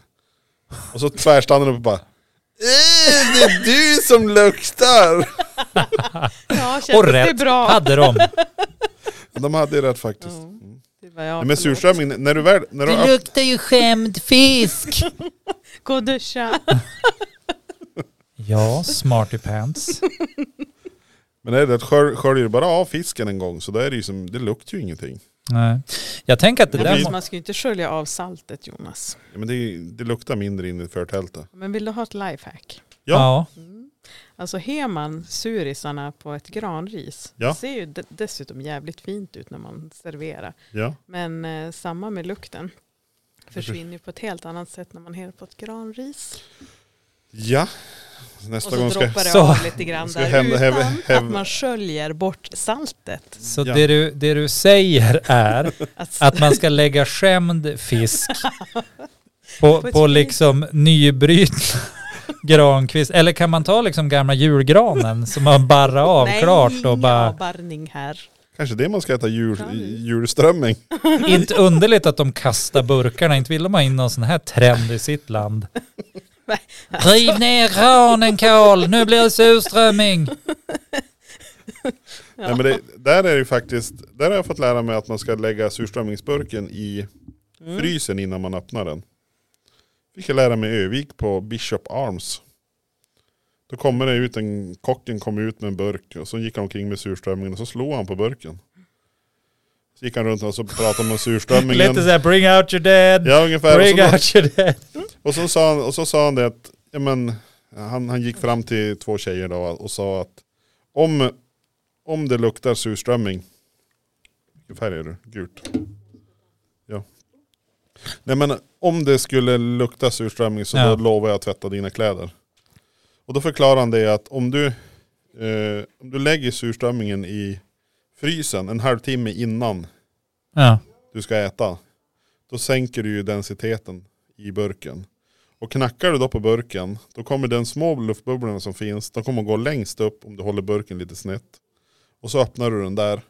Och så tvärstannar de upp och bara "Eh, det är du som luktar!
Ja,
Och
kändes det
rätt
bra?
hade de.
De hade ju rätt faktiskt.
Ja,
Mm.
Det var jag,
Nej, Men
förlåt.
surströmming, när du väl... När du har öpp-
luktar ju skämd fisk.
Gå och duscha.
Ja, smarty pants.
men det är det att skölj- sköljer du bara av fisken en gång så då är det ju som, det luktar ju ingenting.
Nej. Jag tänker att det
Nej,
där...
men
må-
man ska ju inte skölja av saltet Jonas.
Ja, men det, är- det luktar mindre in i förtältet.
Men vill du ha ett lifehack?
Ja.
Mm. Alltså Heman, surisarna på ett granris,
Ja.
det ser ju de- dessutom jävligt fint ut när man serverar.
Ja.
Men eh, samma med lukten. Försvinner ju på ett helt annat sätt när man häller på ett granris.
Ja. Nästa
Och så
gång ska...
droppar det
Så.
av lite grann
Ska
där
hem-
utan
hem- hem-
att man sköljer bort saltet.
Så
Ja.
det, du, det du säger är
Att,
att man ska lägga skämd fisk på,
På ett
på
fint-
liksom nybrytna grankvist. Eller kan man ta liksom gamla julgranen som man barrar av
nej,
klart och bara...
avbarrning här.
Kanske det man ska äta jul,
Ja.
julströmming.
Inte underligt att de kastar burkarna. Inte vill de ha in någon sån här trend i sitt land.
Nej,
Riv ner granen Karl, nu blir det surströmming.
Ja.
Nej, men det, där är det ju faktiskt, där har jag fått lära mig att man ska lägga surströmmingsburken i frysen innan man öppnar den. Fick jag lära mig i Övik på Bishop Arms. Då kommer det ut en, kocken kom ut med en burk och så gick han omkring med surströmmingen och så slog han på burken. Så gick han runt och så pratade om surströmmingen.
Lite såhär bring out your dead,
Ja ungefär. Och
bring
så,
out your dead.
Och så sa han, och så sa han det att, ja, men, han, han gick fram till två tjejer då och sa att om, om det luktar surströmming, vilken färg är det? Gult. Ja. Nej men om det skulle lukta surströmming så
Ja.
då lovar jag att tvätta dina kläder. Och då förklarar han det att om du, eh, om du lägger surströmmingen i frysen en halvtimme innan
Ja.
du ska äta, då sänker du ju densiteten i burken. Och knackar du då på burken, då kommer den små luftbubblorna som finns, de kommer gå längst upp om du håller burken lite snett. Och så öppnar du den där,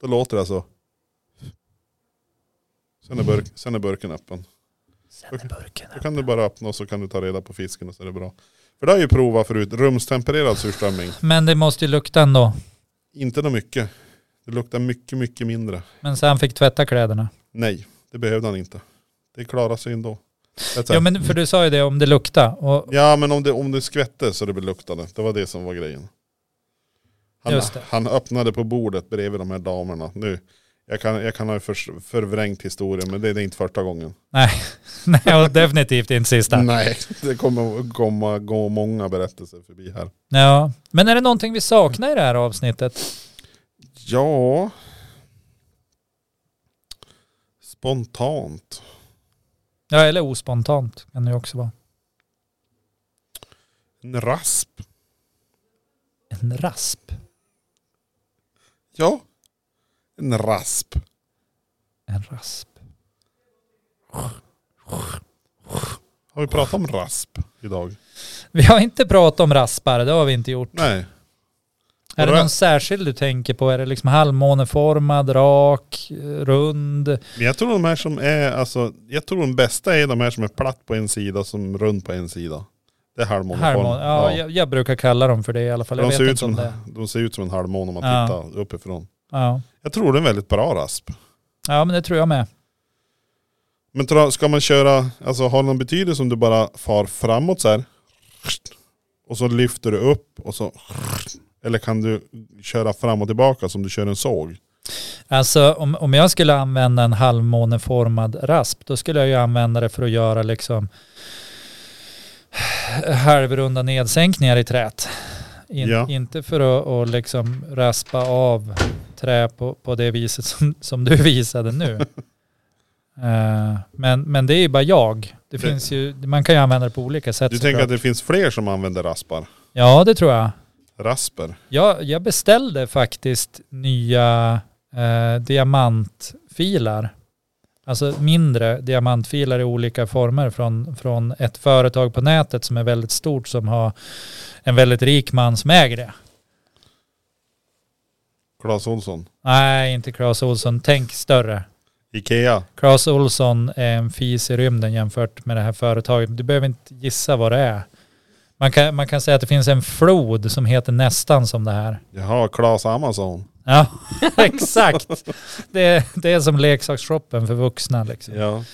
då låter det så. Sen är, burk, sen är burken öppen.
Sen är burken
Då kan du bara öppna och så kan du ta reda på fisken och så är det bra. För det har jag ju provat förut, rumstempererad surströmming.
Men det måste ju lukta ändå.
Inte något mycket. Det luktar mycket, mycket mindre.
Men så han fick tvätta kläderna.
Nej, det behövde han inte. Det klarar sig ändå. That's
Ja men för du sa ju det om det lukta. Och
Ja men om det, om det skvätte så det blev luktande. Det var det som var grejen. Han,
Just det.
han öppnade på bordet bredvid de här damerna. Nu, jag kan, jag kan ha förs- förvrängt historien men det, det är inte första gången.
nej, och definitivt inte sista.
Nej, det kommer komma, gå många berättelser förbi här.
Ja. Men är det någonting vi saknar i det här avsnittet?
Ja. Spontant.
Ja eller ospontant kan det ju också vara.
En rasp.
En rasp.
Ja. En rasp.
En rasp.
Har vi pratat om rasp idag?
Vi har inte pratat om raspar, det har vi inte gjort.
Nej.
Är det
Bra.
någon särskild du tänker på? Är det liksom halvmåneformad, rak, rund?
Men jag tror de här som är, alltså, jag tror de bästa är de här som är platt på en sida som rund på en sida. Det är halvmåneform.
Halvmåne? Ja, Jag, jag brukar kalla dem för det i alla fall. Jag
de,
vet
ser ut
inte om
som,
det.
de ser ut som en halvmåne om man
Ja.
tittar uppifrån.
Ja.
Jag tror det är en väldigt bra rasp.
ja, men det tror jag med.
Men tror du- ska man köra, alltså har det någon betydelse om du bara far framåt så här? Och så lyfter du upp och så Eller kan du köra fram och tillbaka som du kör en såg?
Alltså om, om jag skulle använda en halvmåneformad rasp, då skulle jag ju använda det för att göra liksom halvrunda nedsänkningar i träet. In,
Ja.
Inte för att att liksom raspa av trä på, på det viset som, som du visade nu. Eh, men, men det är ju bara jag. Det
Det-
finns ju, man kan ju använda det på olika sätt.
Du tänker att
såklart.
det finns fler som använder raspar?
Ja, det tror jag.
Rasper?
Jag, jag beställde faktiskt nya eh, diamantfilar. Alltså mindre diamantfilar i olika former från, från ett företag på nätet som är väldigt stort som har en väldigt rik man som äger det.
Clas Ohlson?
Nej, inte Clas Olsson. Tänk större.
Ikea?
Clas Olsson är en fis i rymden jämfört med det här företaget. Du behöver inte gissa vad det är. Man kan, man kan säga att det finns en flod som heter nästan som det här.
Jaha, Clas Amazon?
Ja, exakt. Det, det är som leksaksshoppen för vuxna. Liksom.
Ja.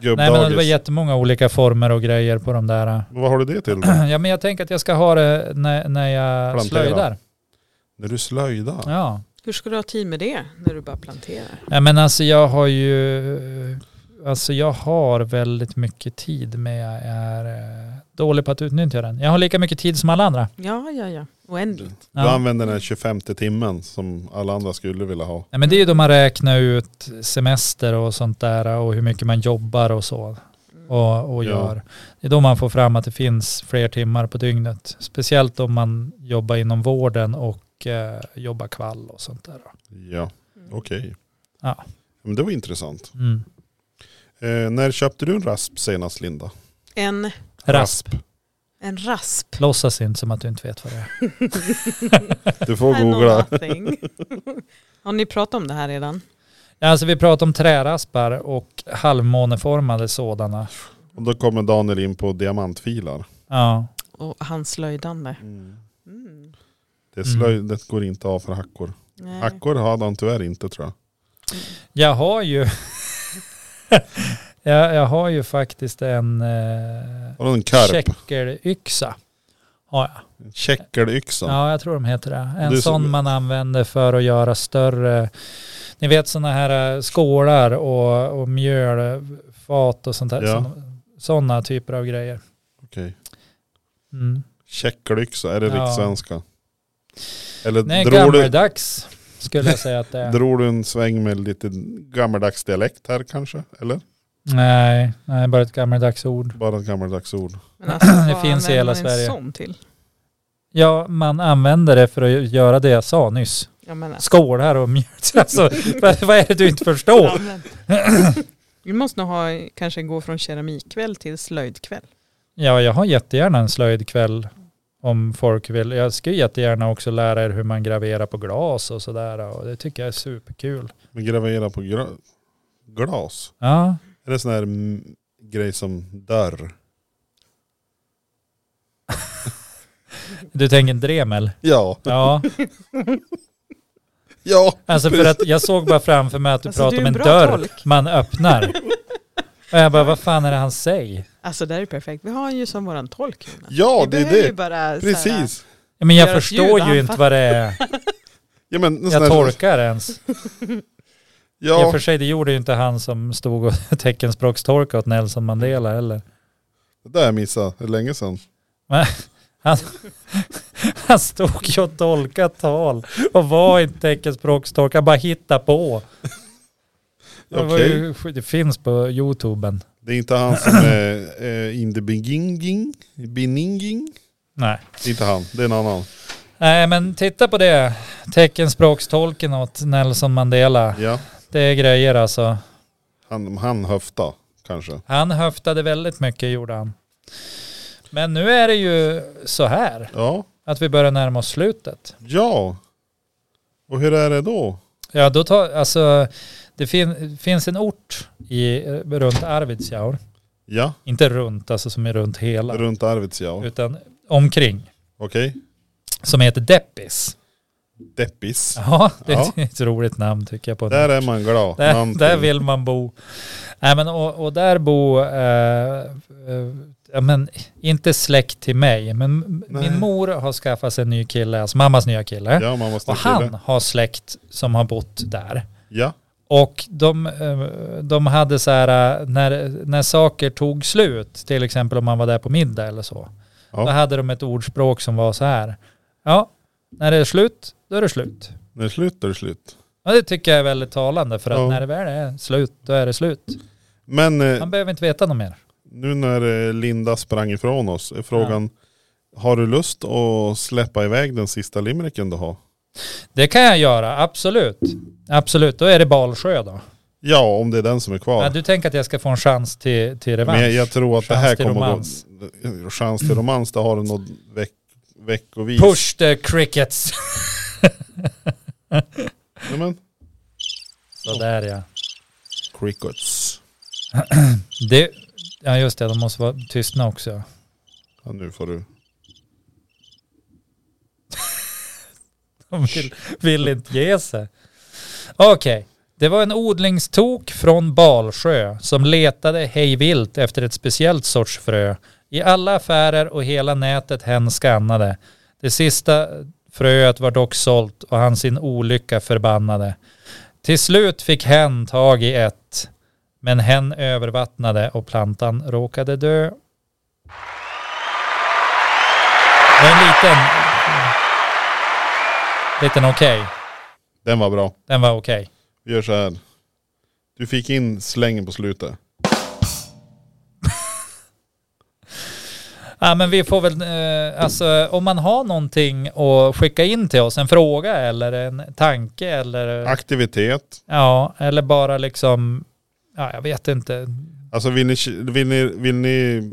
Nej, men det var
Gubbdagis?
jättemånga olika former och grejer på de där.
Vad har du det till då?
Ja, men jag tänker att jag ska ha det när, när jag
Plantera.
slöjdar.
När du slöjdar?
Ja.
Hur ska du ha tid med det när du bara planterar?
ja, men alltså jag har ju... Alltså jag har väldigt mycket tid men jag är eh, dålig på att utnyttja den. Jag har lika mycket tid som alla andra.
Ja, ja, ja. Oändligt.
Du
Ja.
använder den här 25 timmen som alla andra skulle vilja ha.
Nej, men det är ju då man räknar ut semester och sånt där och hur mycket man jobbar och så. Och, och
Ja.
gör. Det är då man får fram att det finns fler timmar på dygnet. Speciellt om man jobbar inom vården och eh, jobbar kvall och sånt där.
Ja, okej.
Ja.
Men det var intressant.
Mm.
Eh, när köpte du en rasp senast Linda?
En,
Rasp.
en rasp.
Låtsas inte som att du inte vet vad det är.
Du får
I know
googla.
nothing. Har ni pratat om det här redan?
Ja, Alltså vi pratar om träraspar och halvmåneformade sådana.
Och då kommer Daniel in på diamantfilar.
Ja.
Och hans slöjdande. Mm.
Det, slöj,
Mm.
det går inte av för hackor.
Nej.
Hackor hade han tyvärr inte tror jag.
Jag har ju... jag, jag har ju faktiskt en... Eh,
Har du en karp?
Checkeryxa har jag.
Käckelyxa.
Ja, jag tror de heter det. En
Det är
sån
som-
man använder för att göra större, ni vet sådana här eh, skålar och, och mjölfat och sånt där.
Ja.
Sådana typer av grejer.
Okej.
Mm.
Käckelyxa, är det
Ja.
rikssvenska? Eller
Nej,
drog du,
gammaldags skulle jag säga att det är.
drog du en sväng med lite gammaldags dialekt här kanske? Eller?
nej, nej, bara ett gammaldags ord.
Bara ett gammaldags ord.
Men alltså,
Det
vad
finns i
använder
hela
man en
Sverige.
sån till?
Ja, man använder det för att göra det jag sa nyss.
Jag menar,
Skålar och mjöl. Alltså, vad vad är det du inte förstår?
använd. Vi måste nog ha, kanske gå från keramikkväll till slöjdkväll.
Ja, jag har jättegärna en slöjdkväll om folk vill. Jag skulle jättegärna också lära er hur man graverar på glas och sådär. Och det tycker jag är superkul.
Men gravera på gra- glas.
Ja,
Är det sån här mm, grej som dörr?
du tänker en dremel?
Ja.
Ja,
Ja.
alltså för att jag såg bara framför mig att du
Alltså,
pratade
du
om
är
en
en bra
dörr
tolk.
man öppnar. Och jag bara, vad fan är det han säger?
Alltså det här är perfekt. Vi har ju som våran tolk. Jonas.
Ja,
Vi
det är
behöver ju
det.
bara så här,
Precis.
Ja, Men jag
Deras
förstår
ljud,
ju inte vad det är.
Ja, men en sån
Jag
här-
tolkar ens. I och
Ja,
för sig, det gjorde ju inte han som stod och teckenspråkstorkade åt Nelson Mandela heller.
det där jag missade. Det är länge sedan.
Han, han stod ju och tolkade tal och var inte teckenspråkstolk, han bara hittade på. Det, var ju, det finns på youtuben.
Det är inte han som är eh, in the beginning. Beninging.
Nej.
Det är inte han, det är en annan.
Nej men titta på det. Teckenspråkstolken åt Nelson Mandela.
Ja,
Det är grejer alltså.
han, han höfta kanske.
Han höftade väldigt mycket gjorde han. Men nu är det ju så här.
Ja,
Att vi börjar närma oss slutet.
Ja. Och hur är det då?
Ja, då tar, alltså, det fin, finns en ort i, eh, runt Arvidsjaur.
Ja,
Inte runt, alltså som är runt hela,
runt Arvidsjaur.
utan omkring.
Okej.
Som heter Deppis.
Deppis.
Ja, det är
Ja.
ett roligt namn tycker jag. På en
Där
ort.
är man glad.
Där,
Namn
där
till.
vill man bo. Nej, men, och, och där bor, eh, eh, ja, men, inte släkt till mig, men m-
Nej.
min mor har skaffat sig en ny kille, alltså mammas nya kille.
Ja, man måste
och
till
han
det.
har släkt som har bott där.
Ja,
Och de, eh, de hade så här, eh, när, när saker tog slut, till exempel om man var där på middag eller så,
Ja.
då hade de ett ordspråk som var så här, ja, när det är slut, då är det slut.
när det är slut då är det slut.
Ja, det tycker jag är väldigt talande för att
Ja.
när det väl är slut, då är det slut.
Men eh,
Man behöver inte veta något mer.
nu när eh, Linda sprang ifrån oss är frågan, har du lust att släppa iväg den sista limericken du har?
Det kan jag göra, absolut. Absolut, då är det Balsjö då.
Ja, om det är den som är kvar.
Ja, du tänker att jag ska få en chans till, till revansch?
Men jag, jag tror att det
Chans
här
till
kommer
romans.
gå... Chans till romans, det har du något veck, veckovis.
Push the crickets!
Nej, men,
Sådär ja.
crickets.
Det, ja just det, de måste vara tystna också.
Ja, nu får du.
De vill, vill inte ge sig. Okej, det var en odlingstok från Balsjö som letade hejvilt efter ett speciellt sorts frö. I alla affärer och hela nätet hen skannade. Det sista fröet var dock sålt och han sin olycka förbannade. Till slut fick hen tag i ett, men hen övervattnade och plantan råkade dö. Det är en liten, liten okej.
Den var bra.
Den var okej.
Vi gör så här. Du fick in slängen på slutet.
Ja men vi får väl, eh, alltså om man har någonting att skicka in till oss, en fråga eller en tanke eller,
Aktivitet.
ja, eller bara liksom, ja jag vet inte.
Alltså vill ni, vill ni, vill ni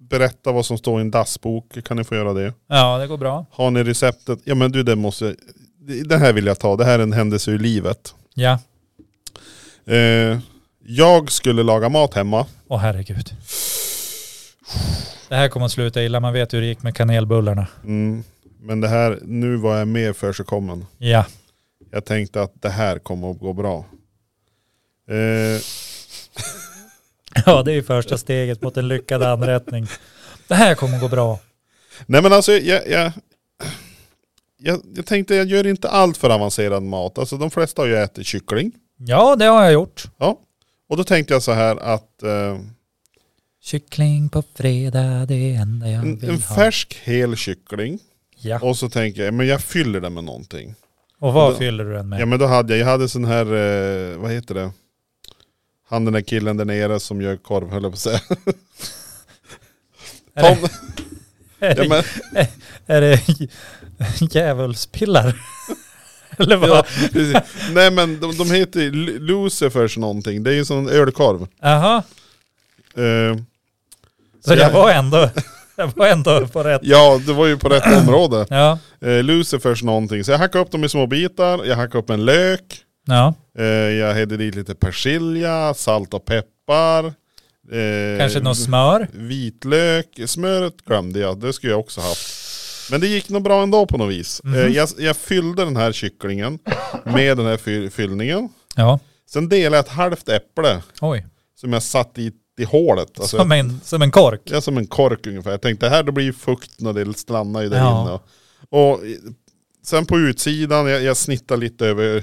berätta vad som står i en dassbok kan ni få göra det.
Ja det går bra.
Har ni receptet? Ja men du det måste jag... Det här vill jag ta. Det här är en händelse ur livet.
Ja,
Eh, jag skulle laga mat hemma.
åh herregud. Det här kommer att sluta illa, man vet hur det gick med kanelbullarna.
Mm. Men det här, nu var jag mer försigkommen.
Ja,
Jag tänkte att det här kommer att gå bra. Eh,
ja det är ju första steget mot en lyckad anrättning. Det här kommer att gå bra.
nej men alltså jag, jag, jag, jag tänkte jag gör inte allt för avancerad mat. Alltså de flesta har ju ätit kyckling.
Ja det har jag gjort.
Ja. Och då tänkte jag så här att eh,
Kyckling på fredag, det enda jag
en,
vill
en
ha.
färsk hel kyckling.
Ja,
Och så tänker jag, men jag fyller den med någonting.
och vad fyller du den med?
Ja men då hade jag, jag hade sån här, eh, vad heter det? Han den där killen där nere som gör korv höll jag på att säga.
Är det-
Tom,
är det
ja, men,
Är det djävulspillar? Eller vad?
Ja, precis. Nej men de, de heter ju Lu- Lucifers någonting, det är ju som en ölkorv.
Jaha,
Eh,
så jag
Ja.
var ändå, jag var ändå på rätt.
ja, det var ju på rätt område.
Ja,
Eh, Lucifers någonting, så jag hackade upp dem i små bitar, jag hackade upp en lök,
ja.
eh, jag hällde dit lite persilja, salt och peppar. eh,
kanske något smör.
Vitlök, smöret glömde jag, det skulle jag också haft. Men det gick nog bra ändå på något vis.
Mhm.
Eh, Jag, jag fyllde den här kycklingen med den här fy- fyllningen.
Ja,
Sen delade jag ett halvt äpple
oj.
som jag satt i, i hålet. Alltså,
Som en, som en kork.
Ja, som en kork ungefär. Jag tänkte här då blir ju fukt när det stannar ju där
Ja.
inne. Och i- sen på utsidan, jag, jag snittade lite över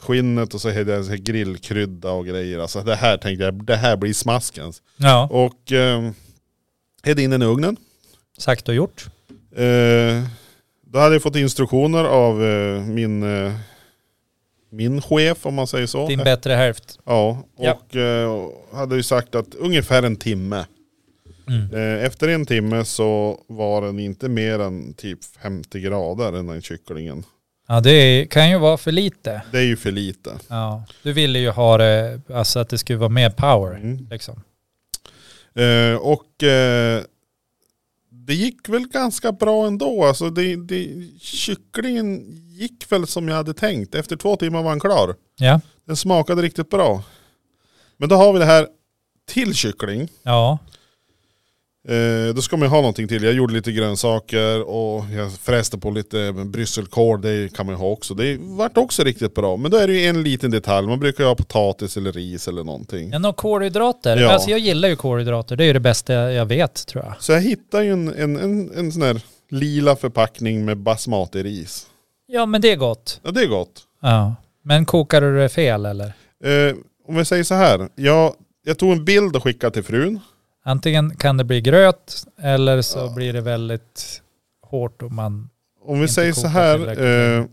skinnet och så hade jag så här grillkrydda och grejer. Alltså det här tänkte jag, det här blir smaskens.
Ja,
Och eh, hällde in den i ugnen.
sagt och gjort.
Eh, då hade jag fått instruktioner av eh, min, eh, min chef om man säger så.
Din bättre hälft.
Ja,
Ja.
och eh, hade ju sagt att ungefär en timme.
Mm.
Eh, Efter en timme så var den inte mer än typ 50 grader den där kycklingen.
Ja, det är- kan ju vara för lite.
Det är ju för lite.
Ja, du ville ju ha det, alltså att det skulle liksom. vara mer power.
Mm.
Liksom.
Eh, Och eh, det gick väl ganska bra ändå. Alltså det, det, kycklingen gick väl som jag hade tänkt. Efter två timmar var han klar.
Ja.
Den smakade riktigt bra. Men då har vi det här till kyckling.
Ja.
Eh, då ska man ju ha någonting till. Jag gjorde lite grönsaker och jag fräste på lite brysselkål, det kan man ju ha också. Det vart också riktigt bra. Men då är det ju en liten detalj, man brukar ju ha potatis eller ris eller någonting.
Ja, några kolhydrater.
Ja.
Alltså jag gillar ju kolhydrater. Det är ju det bästa jag vet tror jag.
Så jag hittade ju en, en, en, en sån här lila förpackning med basmati-ris.
Ja men det är gott.
Ja det är gott.
Ja. Men kokar du det fel eller?
Eh, om vi säger så här, jag, jag tog en bild och skickade till frun.
Antingen kan det bli gröt eller så
Ja.
blir det väldigt hårt och man...
Om vi
Inte
säger så
kokat
här.
tillräckligt.
Eh,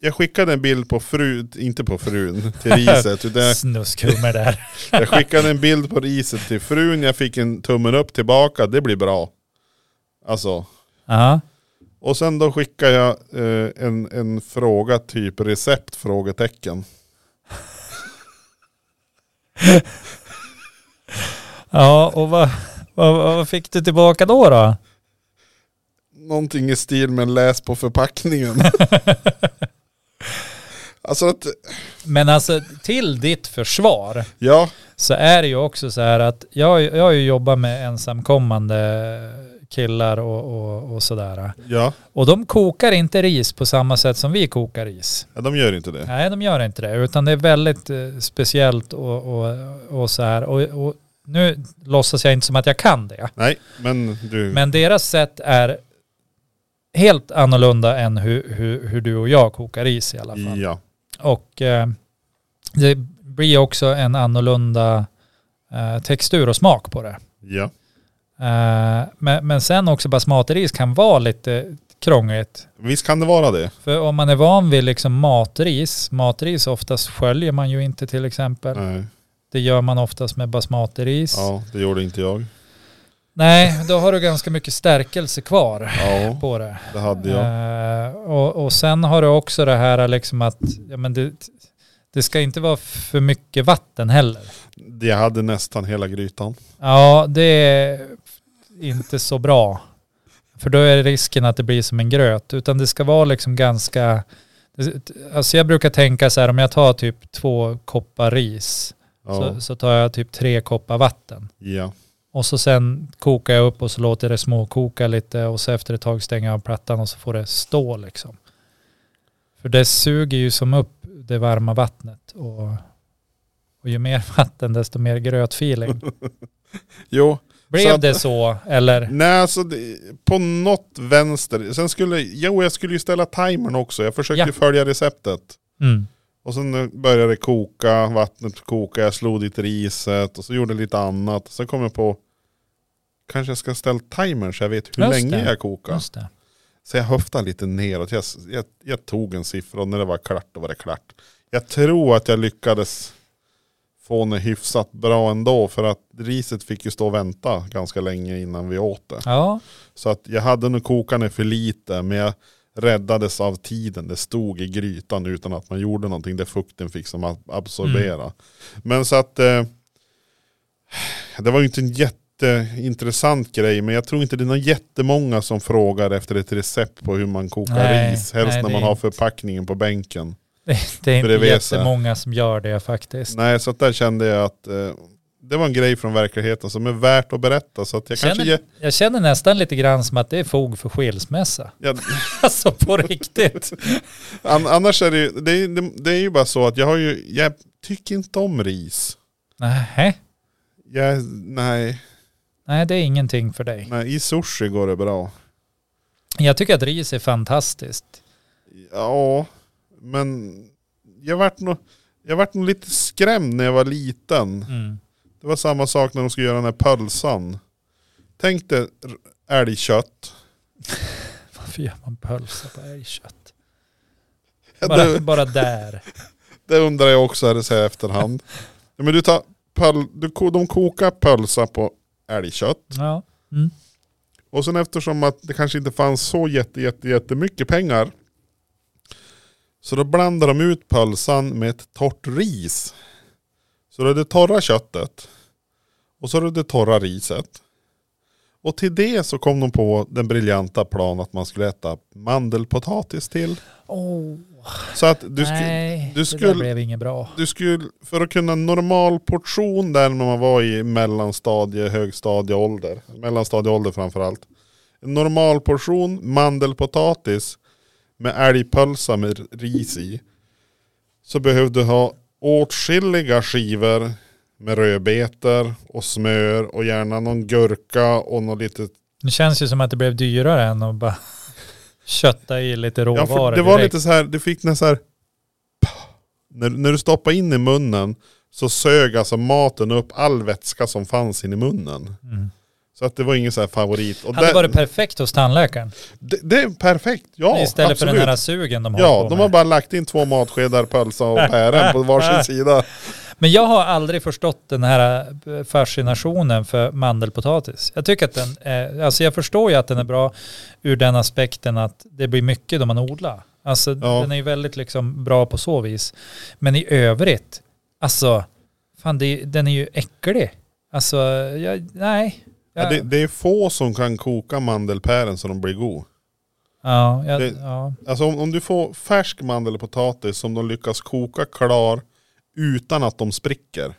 jag skickade en bild på frun, inte på frun, till riset. Utan jag
Snuskhummer där.
Jag skickade en bild på riset till frun, jag fick en tummen upp tillbaka, det blir bra. Alltså.
Ja.
Och sen då skickade jag eh, en, en fråga, typ recept? Frågetecken.
Ja och vad, vad, vad fick du tillbaka då då?
Någonting i stil med läs på förpackningen. alltså att,
Men alltså till ditt försvar.
ja,
så är det ju också så här att jag, jag har ju jobbat med ensamkommande killar och, och, och sådär.
ja,
Och de kokar inte ris på samma sätt som vi kokar ris.
ja, de gör inte det.
Nej, de gör inte det. Utan det är väldigt eh, speciellt och, och, och så här. Och, och nu låtsas jag inte som att jag kan det.
Nej, men du,
Men deras sätt är helt annorlunda än hur, hur, hur du och jag kokar ris i alla fall.
ja.
Och eh, det blir också en annorlunda eh, textur och smak på det.
Ja,
Eh, men, men sen också basmatiris kan vara lite krångligt.
visst kan det vara det.
För om man är van vid liksom matris, matris oftast sköljer man ju inte till exempel.
Nej,
Det gör man oftast med basmatiris.
ja, det gjorde inte jag.
Nej, då har du ganska mycket stärkelse kvar
Ja,
på det.
det hade jag.
Eh, och, och sen har du också det här liksom att ja, men det, det ska inte vara för mycket vatten heller.
Jag hade nästan hela grytan.
Ja, det är inte så bra. För då är risken att det blir som en gröt. Utan det ska vara liksom ganska... Alltså jag brukar tänka så här, om jag tar typ två koppar ris
Ja,
så, så tar jag typ tre koppar vatten.
ja.
Och så sen kokar jag upp och så låter jag det småkoka lite och så efter ett tag stänger jag av plattan och så får det stå liksom. För det suger ju som upp det varma vattnet och, och ju mer vatten desto mer grötfeeling.
Jo,
Blev
Så att-
det så eller? Mm,
Nej, alltså det, på något vänster. Sen skulle, jo jag skulle ju ställa timern också. Jag försökte
Ja.
följa receptet.
Mm.
Och sen eh, började det koka, vattnet koka, jag slog dit riset och så gjorde jag lite annat. Sen kom jag på, kanske jag ska ställa timern så jag vet hur
Just
länge
det.
jag kokar.
Just det.
Så jag höftade lite neråt. Jag, jag, jag tog en siffra och när det var klart då var det klart. Jag tror att jag lyckades få den hyfsat bra ändå för att riset fick ju stå och vänta ganska länge innan vi åt det.
Ja,
Så att jag hade nog kokande för lite men jag räddades av tiden. Det stod i grytan utan att man gjorde någonting. Det fukten fick som att absorbera.
Mm.
Men så att eh, det var ju inte en jätteintressant grej men jag tror inte det är någon jättemånga som frågar efter ett recept på hur man kokar
Nej,
ris. Helst
nej,
när
det
man
är
har
inte-
förpackningen på bänken.
det är inte
Bredvid sig.
jättemånga som gör det faktiskt.
Nej så att där kände jag att eh, det var en grej från verkligheten som är värt att berätta. Så att jag kanske
Känner,
ge,
jag känner nästan lite grann som att det är fog för skilsmässa.
jag,
Alltså på riktigt.
An- Annars är det ju, det är, det, det är ju bara så att jag har ju, jag tycker inte om ris.
Nej,
Jag, nej,
nej, det är ingenting för dig.
nej, i sushi går det bra.
Jag tycker att ris är fantastiskt.
Ja, men jag vart nog, jag vart nog lite skrämd när jag var liten.
Mm.
Det var samma sak när de skulle göra den här pölsan. Tänk dig r- älgkött.
Varför gör man pölsa på älgkött?
Ja,
Bara,
det-
bara där.
Det undrar jag också här så här i efterhand. Ja, men du tar, pöl, du, ko- de kokar pölsa på älgkött.
Ja.
Och sen eftersom att det kanske inte fanns så jätte, jätte, jättemycket pengar. Så då blandade de ut pölsan med ett torrt ris. Så det är det torra köttet. Och så är det det torra riset. Och till det så kom de på den briljanta plan att man skulle äta mandelpotatis till.
Oh,
Så att du, sku,
nej,
du
det
skulle-
där blev inget bra.
du skulle, för att kunna en normal portion där när man var i mellanstadie, högstadieålder, mellanstadieålder framförallt. En normal portion mandelpotatis med älgpölsa med ris i. Så behövde du ha åtskilliga skivor med rödbetor och smör och gärna någon gurka och något litet
Det känns ju som att det blev dyrare än att bara kötta i lite råvaror
Ja, för det var
direkt.
lite så här, du fick nästan så här... När, när du stoppade in i munnen så sög alltså maten upp all vätska som fanns in i munnen.
Mm.
Så att det var ingen så här favorit. Och
Hade
det,
varit perfekt hos tandläkaren.
det, det är perfekt, ja
Istället
absolut.
för den här sugen de har
Ja,
på
de
med.
har bara lagt in två matskedar pölsa och päron på varsin sida.
Men jag har aldrig förstått den här eh, fascinationen för mandelpotatis. Jag tycker att den, eh, alltså jag förstår ju att den är bra ur den aspekten att det blir mycket då man odlar. Alltså
Ja.
den är ju väldigt liksom bra på så vis. Men i övrigt, alltså, fan det, är- den är ju äcklig. Alltså, jag, nej.
Ja.
Jag,
Det, det är få som kan koka mandelpären så de blir god.
ja, jag,
det-
ja.
Alltså om, om du får färsk mandelpotatis som de lyckas koka klar utan att de spricker.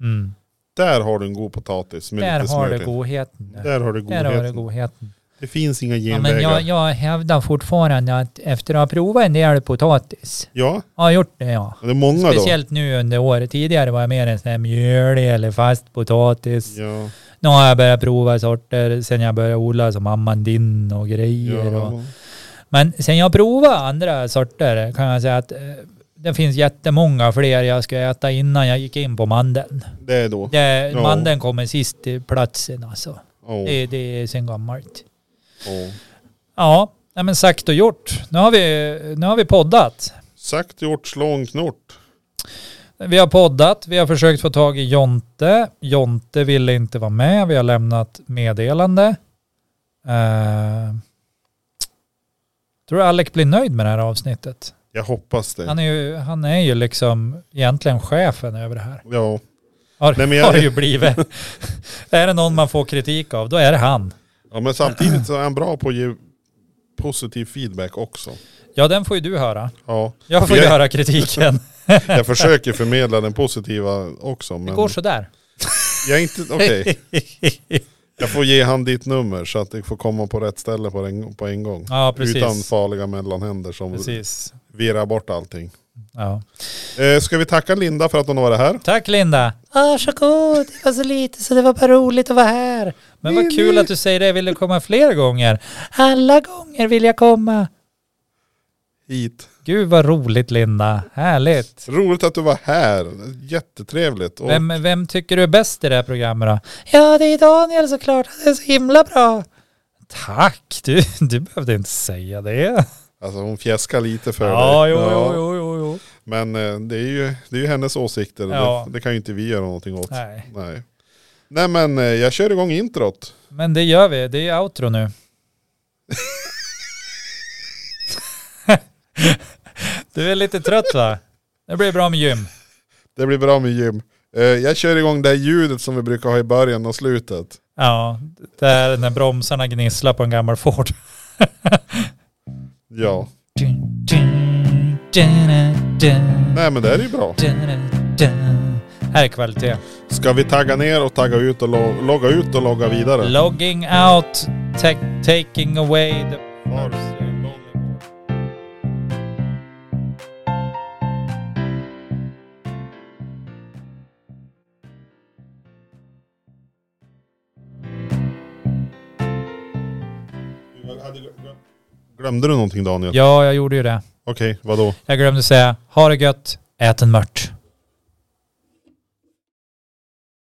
Mm.
Där har du en god potatis med
Där
lite
har
smör
du
till.
godheten.
Där har du
Där
godheten.
har
det,
du godheten.
finns inga
Ja,
genvägar.
men
Ja,
jag, jag hävdar fortfarande att efter att ha provat en del potatis, jag har gjort det ja.
det är många
Speciellt nu under året. Tidigare var jag mer en sån här mjölig eller fast potatis.
då. Ja,
Nu har jag börjat prova sorter sen jag började odla som amandin och grejer. Och.
ja.
Men sen jag provade andra sorter kan jag säga att eh, det finns jättemånga fler jag ska äta innan jag gick in på mandeln.
Det är då.
Det,
Ja.
Mandeln kommer sist i platsen alltså.
Åh,
Det, det är sen gammalt.
åh.
Ja, nej, men sagt och gjort. Nu har vi, nu har vi poddat.
Sagt gjort, slå en knort.
Vi har poddat, vi har försökt få tag i Jonte. Jonte ville inte vara med, vi har lämnat meddelande. Eh, tror du Alec blir nöjd med det här avsnittet?
Jag hoppas det.
Han är ju, han är ju liksom egentligen chefen över det här.
Ja.
Har,
Nej, men jag-
har det ju blivit. är det någon man får kritik av, då är det han.
ja, men samtidigt så är han bra på att ge positiv feedback också.
Ja, den får ju du höra.
Ja,
Jag får
Jag-
ju höra kritiken.
jag försöker förmedla den positiva också.
Det
Men
går sådär.
jag är inte, okej. Jag får ge han ditt nummer så att det får komma på rätt ställe på en, på en gång.
ja, precis.
Utan farliga mellanhänder som
precis.
virrar bort allting.
Ja.
Eh, ska vi tacka Linda för att hon har varit här?
Tack Linda. Ah, Varsågod, det var så lite så det var bara roligt att vara här. Men vad kul att du säger det, vill du komma fler gånger? Alla gånger vill jag komma.
Hit.
Gud vad roligt Linda, härligt.
Roligt att du var här. Jättetrevligt. Och
Vem, vem tycker du är bäst i det här programmet då? Ja, det är Daniel såklart, han är så himla bra. Tack, du, du behövde inte säga det.
alltså, hon fjäskar lite för
Ja,
dig.
jo,
Ja.
jo, jo, jo, jo.
Men eh, det är, ju, det är ju hennes åsikter. och
Ja.
Det, det kan ju inte vi göra någonting åt. Nej.
Nej,
Nej, men eh, jag kör igång introt.
men det gör vi, det är outro nu. du är lite trött va? Det blir bra med gym.
Det blir bra med gym. Eh, jag kör igång det här ljudet som vi brukar ha i början och slutet.
Ja, det är när bromsarna gnisslar på en gammal Ford.
Ja. Nej men det här är ju bra.
Här är kvalitet.
Ska vi tagga ner och tagga ut och lo- logga ut och logga vidare?
Logging out, ta- taking away the...
Glömde du någonting Daniel?
Ja, jag gjorde ju det.
Okej, vadå?
Jag glömde säga, ha det gött, ät en mört.